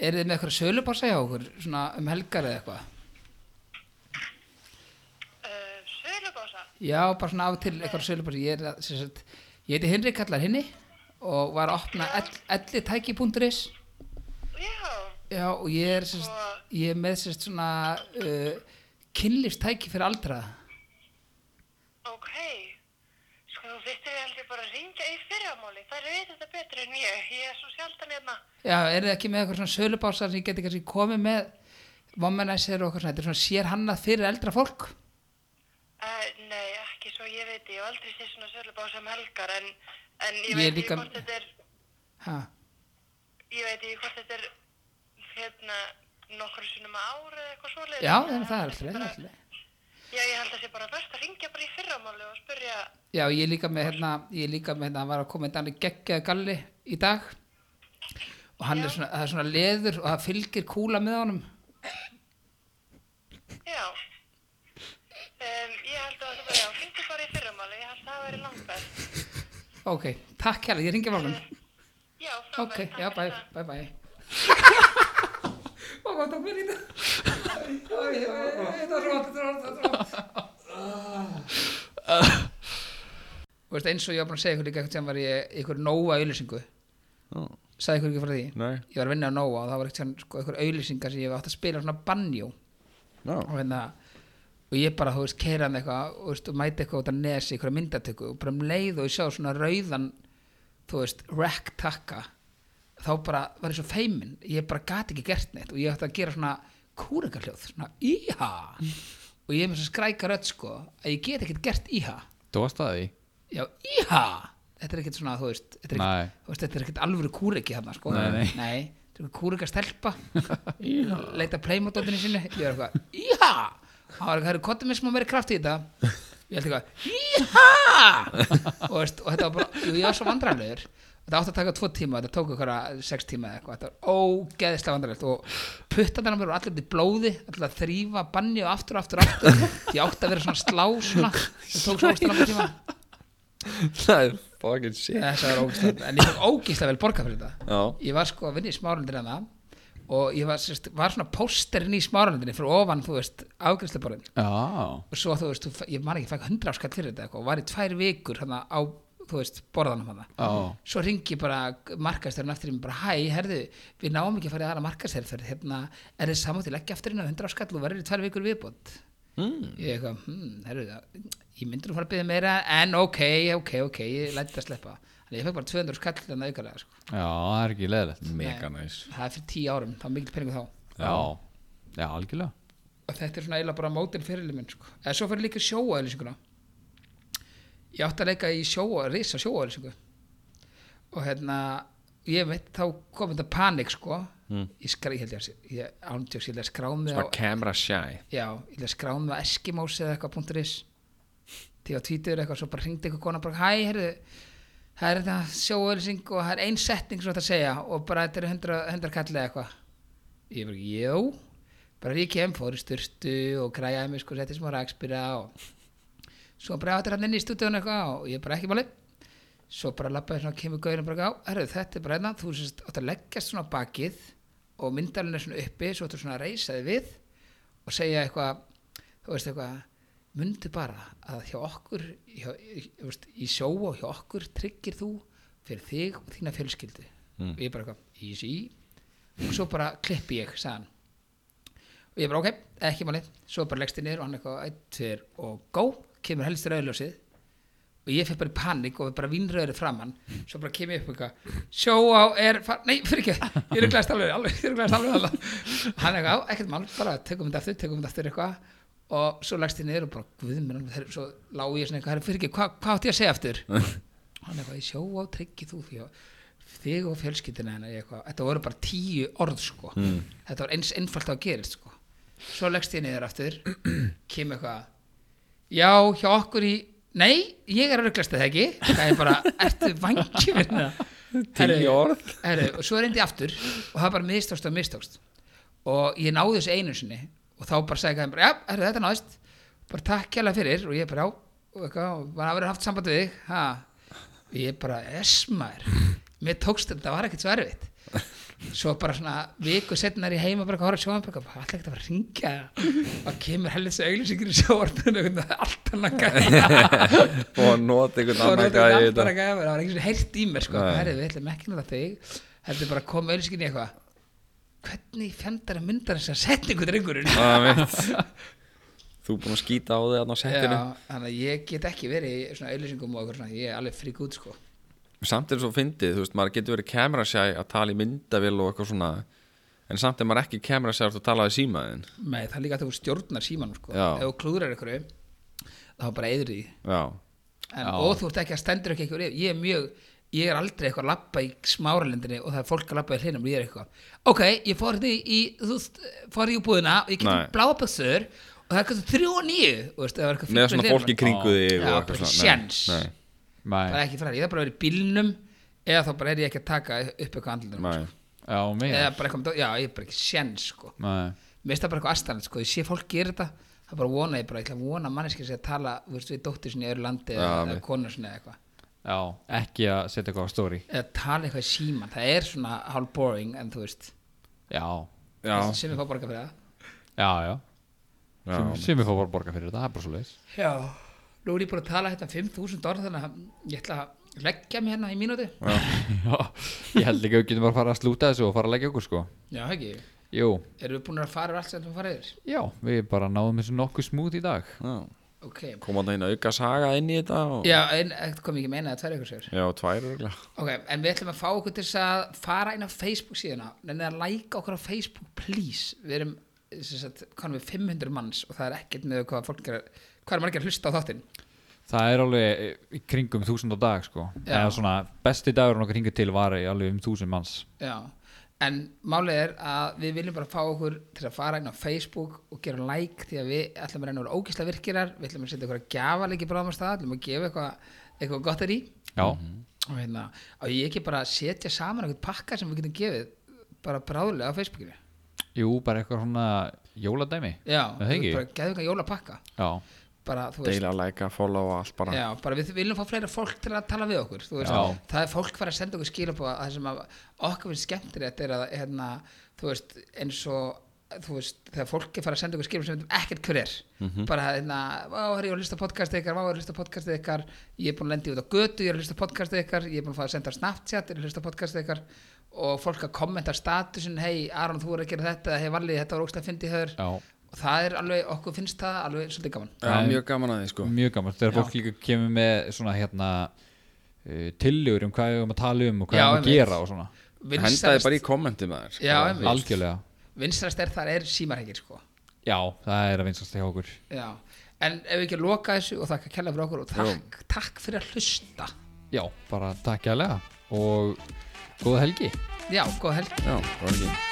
Speaker 1: er þið með eitthvað sölubása hjá okkur svona um helgar eða eitthvað
Speaker 5: uh, Sölubása.
Speaker 1: já, bara svona af og til eitthvað sölubása ég er að, sérst, ég heiti Hinrik kallar henni og var að opna ell, ellitæki.is
Speaker 5: Já,
Speaker 1: já, og ég er sérst, ég er með sérst svona uh, kynlífstæki fyrir aldraða
Speaker 5: ok. Sko, þú vittir ég heldur bara að ringja í fyrramáli. Það er veit þetta betur en ég. Ég er svo sjaldan hérna.
Speaker 1: Já, er þið ekki með eitthvað svona sölubásar sem ég geti kannski komið með vomanæsir og eitthvað svona, þetta er svona sér hannað fyrir eldra fólk?
Speaker 5: Uh, nei, ekki svo ég veit. Ég hef aldrei séð svona sölubása um helgar en, en ég,
Speaker 1: Ég
Speaker 5: veit
Speaker 1: líka-
Speaker 5: ekki hvort þetta er...
Speaker 1: Ha,
Speaker 5: ég veit ekki hvort þetta er hérna nokkur sinnum á ári eða eitthvað svoleiðis.
Speaker 1: já, þannig að það er alltaf leið,
Speaker 5: bara-
Speaker 1: alltaf leið.
Speaker 5: Já, ég held að sé bara best að ringja bara í fyrramáli og spyrja,
Speaker 1: Já, ég er líka með hérna, ég er líka með hérna, hann var að koma með alveg geggjaði galli í dag og hann er svona, það er svona leður og það fylgir kúla með honum.
Speaker 5: já. Um, ég held að það bara, já, ringja bara í fyrramáli, ég held að það væri langt best.
Speaker 1: Ok, takk hérna, ég ringi málum.
Speaker 5: Já,
Speaker 1: Ok,
Speaker 5: frábært, takk
Speaker 1: já,
Speaker 5: fyrir
Speaker 1: bæ,
Speaker 5: það.
Speaker 1: bæ, bæ. Ó, hvað tók mér í þetta? Æ, æ, æ, Þetta var rótt, þetta var rótt, þetta var rótt. Þú veist, eins og ég var búin að segja ykkur líka eitthvað sem var í ykkur nóa auðlýsingu. Sagði ykkur ekki frá því?
Speaker 2: Nei.
Speaker 1: Ég var að vinna á nóa og það var eitthvað sko, ykkur auðlýsingar sem ég átt að spila svona banjó
Speaker 2: Já,
Speaker 1: og hérna og ég bara, þú veist, keiraði eitthvað og, veist, og mæti eitthvað út að nesi, eitthvað myndatöku og bara um leið og ég sjá svona rauðan þú veist, rack takka þá bara var ég svo feimin ég bara gat ekki gert neitt og ég ætti að gera svona kúrikarljóð, svona íha og ég er með svo skræka rödd sko að ég get ekkert gert íha
Speaker 3: Þú varst að því
Speaker 1: já, íha þetta er ekkert svona, þú veist þetta er
Speaker 3: Nei.
Speaker 1: ekkert, þú veist, þetta er ekkert alvöru kúriki þarna sko
Speaker 3: Nei, nei.
Speaker 1: þetta er eitthvað kúrika stelpa leita playmótóttinu sinni ég er eitthvað, íha hann var eitthvað, það eru kottum minn sem að vera kraft í þetta ég held eitthvað, íha og, veist, og þetta var bara, jú, ég var svo vandræðanlegur þetta átti að taka tvo tíma, þetta tók eitthvað sex tíma eða eitthvað, þetta var ógeðislega vandræðanlegt og puttanar mér voru allir út í blóði allir að þrýfa banni og aftur og aftur og aftur, ég átti að vera svona slá svona, þetta tók svo ógeðislega langan tíma
Speaker 2: það er fucking shit
Speaker 1: Þetta var ógeðslega, en ég var ógeðslega vel borgað fyrir þetta
Speaker 2: Já,
Speaker 1: ég var sko að vinna í smáralundir hana og ég var, sérst, var svona pósterinn í smáralundinni fyrir ofan, þú veist, afgriðsleborðin
Speaker 3: Já
Speaker 1: og svo þú veist, þú, fe- ég man ekki, ég fæk hundra áskall fyrir þetta eitthvað og var í tvær vikur hana á, þú veist, borðanum hana
Speaker 3: Já
Speaker 1: svo ringi bara markastærin eftir mér bara, hæ, herðu, við náum ekki að fara í aðra markastærferð, hérna, er þið saman til ekki aftur inn á hundra áskall og verður í tvær vikur viðbútt mm. ég eitthvað, hmm, herðu ég myndur að fara að byggja meira en ok, ok, ok, ég læti það sleppa þannig ég fæk bara 200 skall þannig aukarlega sko.
Speaker 3: Já, það er ekki leðilegt
Speaker 2: mega næs
Speaker 1: það er fyrir tíu árum, það var mikil peningur þá
Speaker 3: Já Já, algjörlega
Speaker 1: og þetta er svona eiginlega bara mótin fyrirlið minn sko. eða svo fyrir líka sjóaðlýsinguna ég átti að leika í sjóa risa sjóaðlýsingu og hérna ég veit þá kom þetta panik sko ég skræði, ég held ég að ég ándjóks ég held ég að skrámi á
Speaker 2: Svona camera shy
Speaker 1: já, ég held ég að skrámi á Eskimós eða eitthvað punktur is til að tvítur eitthvað svo bara hringdi eitthvað kona bara hæ, herðu það er þetta sjóaðlýsing og það er ein setning sem þetta að segja og bara þetta er hundra, hundra kallið eitthvað ég bara, já bara ég kem, fór í styrstu og græjaði mig sko, setti smá rakspýra og svo bara áttir hann inn í stúdíun eitthvað og ég bara ekki máli svo bara labbaði svona, kemur gaurin bara á herru, þetta er bara hérna, þú sérst átt að leggjast svona á bakið og myndalinn er svona uppi svo áttu svona að reisa þig við og segja eitthvað, þú veist eitthvað mundu bara að hjá okkur hjá, í, þú veist, í sjó og hjá okkur tryggir þú fyrir þig og þína fjölskyldu og ég bara eitthvað, easy og svo bara klippi ég, sagði hann og ég bara ok, ekki máli svo bara leggst ég niður og hann eitthvað eitt, tver og gó, kemur helst rauðljósið og ég fyrir bara í panik og bara vinnröðri framann svo bara kem ég upp eitthvað sjóá er, fa- nei fyrir ekki ég er glæðast alveg, alveg, ég er glæðast alveg alveg. hann er eitthvað, "Á, ekkert mál, bara tökum þetta aftur tökum þetta aftur eitthvað og svo lagst ég niður og bara guð mér alveg, herri, svo lá ég svona eitthvað, herri, fyrir ekki, hvað hva átti ég að segja aftur hann er eitthvað, sjóá tryggi þú fyrir þig og fjölskyldina hennar ég eitthvað, þetta voru bara tíu orð sko þetta var eins einfalt að gerist sko svo leggst ég niður aftur kem eitthvað já, hjá okkur í nei, ég er að rugglast það ekki það er bara, ertu vangifinna
Speaker 2: Tíu orð.
Speaker 1: herru, og svo reyndi ég aftur og það bara mistókst og mistókst og ég náði þessu einu sinni og þá bara sagði hann bara, já, herru, þetta náðist bara takk hérlega fyrir og ég bara, já og eitthvað, og bara verið haft samband við þig ha. og ég bara, esmaður mér tókst þetta, það var ekkert svo erfitt svo bara svona viku setna er ég heima bara að horfa sjóanbæk og alltaf ekkert að fara að ringja og kemur hellis auðlýsingir í sjóarpinu og það er allt annan gæja
Speaker 2: og að nota einhvern
Speaker 1: og
Speaker 2: annan
Speaker 1: notaði
Speaker 2: gæði
Speaker 1: allt
Speaker 2: í
Speaker 1: annan
Speaker 2: þetta
Speaker 1: gæja, það var einhvers veginn heyrt í mér sko,
Speaker 2: Nei.
Speaker 1: herri við ætlum ekki náttúrulega þig heldur bara að koma auðlýsingin í eitthvað hvernig fjandar að mynda þess að setningu drengurinn
Speaker 2: Það er mitt. þú búin að skýta á þig þarna á settinu
Speaker 1: Já, þannig að ég get ekki verið í svona auðlýsingum og okkur svona, ég er alveg frík út sko
Speaker 2: samt er svo fyndið, þú veist, maður getur verið kamerasjæ að tala í myndavél og eitthvað svona en samt er maður ekki kamerasjæ að tala í símaðin
Speaker 1: Nei, það er líka að þú stjórnar símanum sko
Speaker 2: Já.
Speaker 1: ef þú klúðrar ykkur þá bara eður í því.
Speaker 2: já,
Speaker 1: en,
Speaker 3: Já.
Speaker 1: og þú ert ekki að stendur ekki ykkur yfir. ég er mjög, ég er aldrei eitthvað að lappa í smáralendinni og það er fólk að lappa í hlinum og ég er eitthvað, ok, ég fór því í þú veist, fór í búðina og ég
Speaker 2: Nei.
Speaker 1: getur bláa buksur og það er eitthvað þrjú og níu og veist, það var eitthvað
Speaker 2: með
Speaker 1: fyrir
Speaker 2: svona
Speaker 1: hliðina.
Speaker 2: fólk í kringu þig
Speaker 1: Já,
Speaker 2: og eitthvað
Speaker 1: bara
Speaker 2: svona. Nei,
Speaker 1: séns.
Speaker 2: nei,
Speaker 1: það er
Speaker 3: Mæ,
Speaker 1: ekki fræðir, ég þarf bara að vera í bílnum eða þá bara er ég ekki að taka upp eitthvað andlutum
Speaker 2: nei.
Speaker 3: já, mig
Speaker 1: eða bara eitthvað, já, ég er bara ekki séns sko
Speaker 3: Mæ,
Speaker 1: mér finnst það bara eitthvað aðstæðan sko, ég sé fólk gera þetta það bara vona ég bara, ég ætla að vona manneskir sem tala, þú veist, við dóttir sinni í öðru landi eða,
Speaker 2: Já, mitt.
Speaker 1: eða konur sinni eða eitthvað
Speaker 3: já, ekki að setja eitthvað á stóri
Speaker 1: eða tala eitthvað í síman, það er svona hálf boring en þú veist,
Speaker 3: Já,
Speaker 2: já,
Speaker 1: sem ég fá borga fyrir það
Speaker 3: já, já
Speaker 2: já,
Speaker 3: Sum- Sumir fá bara að borga fyrir þetta, það er bara svo leiðis
Speaker 1: já, nú er ég búin að tala hérna 5.000 orð þannig að ég ætla að leggja mig hérna í mínúti
Speaker 3: Ég held ekki að við getum bara að fara að slúta þessu og fara að leggja okkur sko
Speaker 1: já, ekki,
Speaker 3: Jú,
Speaker 1: erum við búin að fara yfir allt sem við fara yfir
Speaker 3: já, við bara náðum þessu nokkuð smúð í dag
Speaker 2: já.
Speaker 1: ok,
Speaker 2: koma þarna einu auka saga inn í þetta og...
Speaker 1: já, en þetta kom ekki meina að tverja ykkur sér
Speaker 2: já, tvær örgulega
Speaker 1: Ok, en við ætlum að fá okkur til þess að fara inn á Facebook síðuna, nefnir að læka okkur á Facebook, please, við erum sem sagt, konum við 500 manns og það er ekkert með hvað fólk er, hvað er margir að hlusta á þáttinn
Speaker 3: Það er alveg eh, í kringum þúsund á dag sko
Speaker 1: Já.
Speaker 3: Eða svona, besti dagurinn okkar hingað til var í alveg um þúsund manns
Speaker 1: Já, en málið er að við viljum bara fá okkur til að fara inn á Facebook og gera like því að við ætlum að reyna að vera ógisla virkirar, við ætlum að setja okkur að gjafa leiki bráðum á stað, ætlum að gefa eitthvað, eitthvað gott er í
Speaker 3: Já,
Speaker 2: Mhm.
Speaker 1: og hérna, og ég ekki bara að setja saman eitthvað pakka sem við getum gefið bara bráðlega á Facebookinu.
Speaker 3: jú, bara eitthvað svona jóladæmi
Speaker 1: Já,
Speaker 3: Er það ekki?
Speaker 1: bara geðum eitthvað jólapakka.
Speaker 3: Já,
Speaker 1: bara, þú veist,
Speaker 2: deila, læka, followa, allt bara
Speaker 1: já, bara við viljum fá fleira fólk til að tala við okkur þú veist,
Speaker 3: Já.
Speaker 1: það er fólk fara að senda okkur skilabóða að það sem að okkur finnst skemmtilegt er að hérna, þú veist, eins og þú veist, þegar fólk er fara að senda okkur skilabóða sem við veitum ekkert hver er,
Speaker 2: Mhm.
Speaker 1: bara hérna vá, herri, ég er að hlusta á podcastið ykkar, vá, ég er að hlusta á podcastið ykkar ég er búin að lendi út á götu, ég er að hlusta á podcastið ykkar ég er búin að fá að senda á Snapchat, ég er að hlusta á podcastið ykkar og fólk að kommenta á statusin hei, Aron, þú voru að gera þetta, hei, Valli, þetta var ógstlega fyndið í höður
Speaker 3: já,
Speaker 1: og það er alveg, okkur finnst það alveg svolítið gaman
Speaker 2: já, mjög gaman að því sko
Speaker 3: mjög gaman Þegar
Speaker 1: Já.
Speaker 3: fólk líka kemur með svona hérna uh, tillögur um hvað við erum að tala um og hvað
Speaker 1: Já,
Speaker 3: við erum að
Speaker 1: einmitt.
Speaker 3: gera og svona
Speaker 2: hendaði bara í kommenti maður
Speaker 1: Já, einmitt.
Speaker 3: Algjörlega
Speaker 1: vinstrast er þar er símarhengir sko
Speaker 3: Já, það er að vinstast hjá okkur
Speaker 1: já. en ef við ekki að loka þessu og þakka kella fyrir okkur og takk, takk fyrir að hlusta
Speaker 3: Já, bara takk jælega og góða helgi
Speaker 1: já, góð helg
Speaker 2: já, það var ekki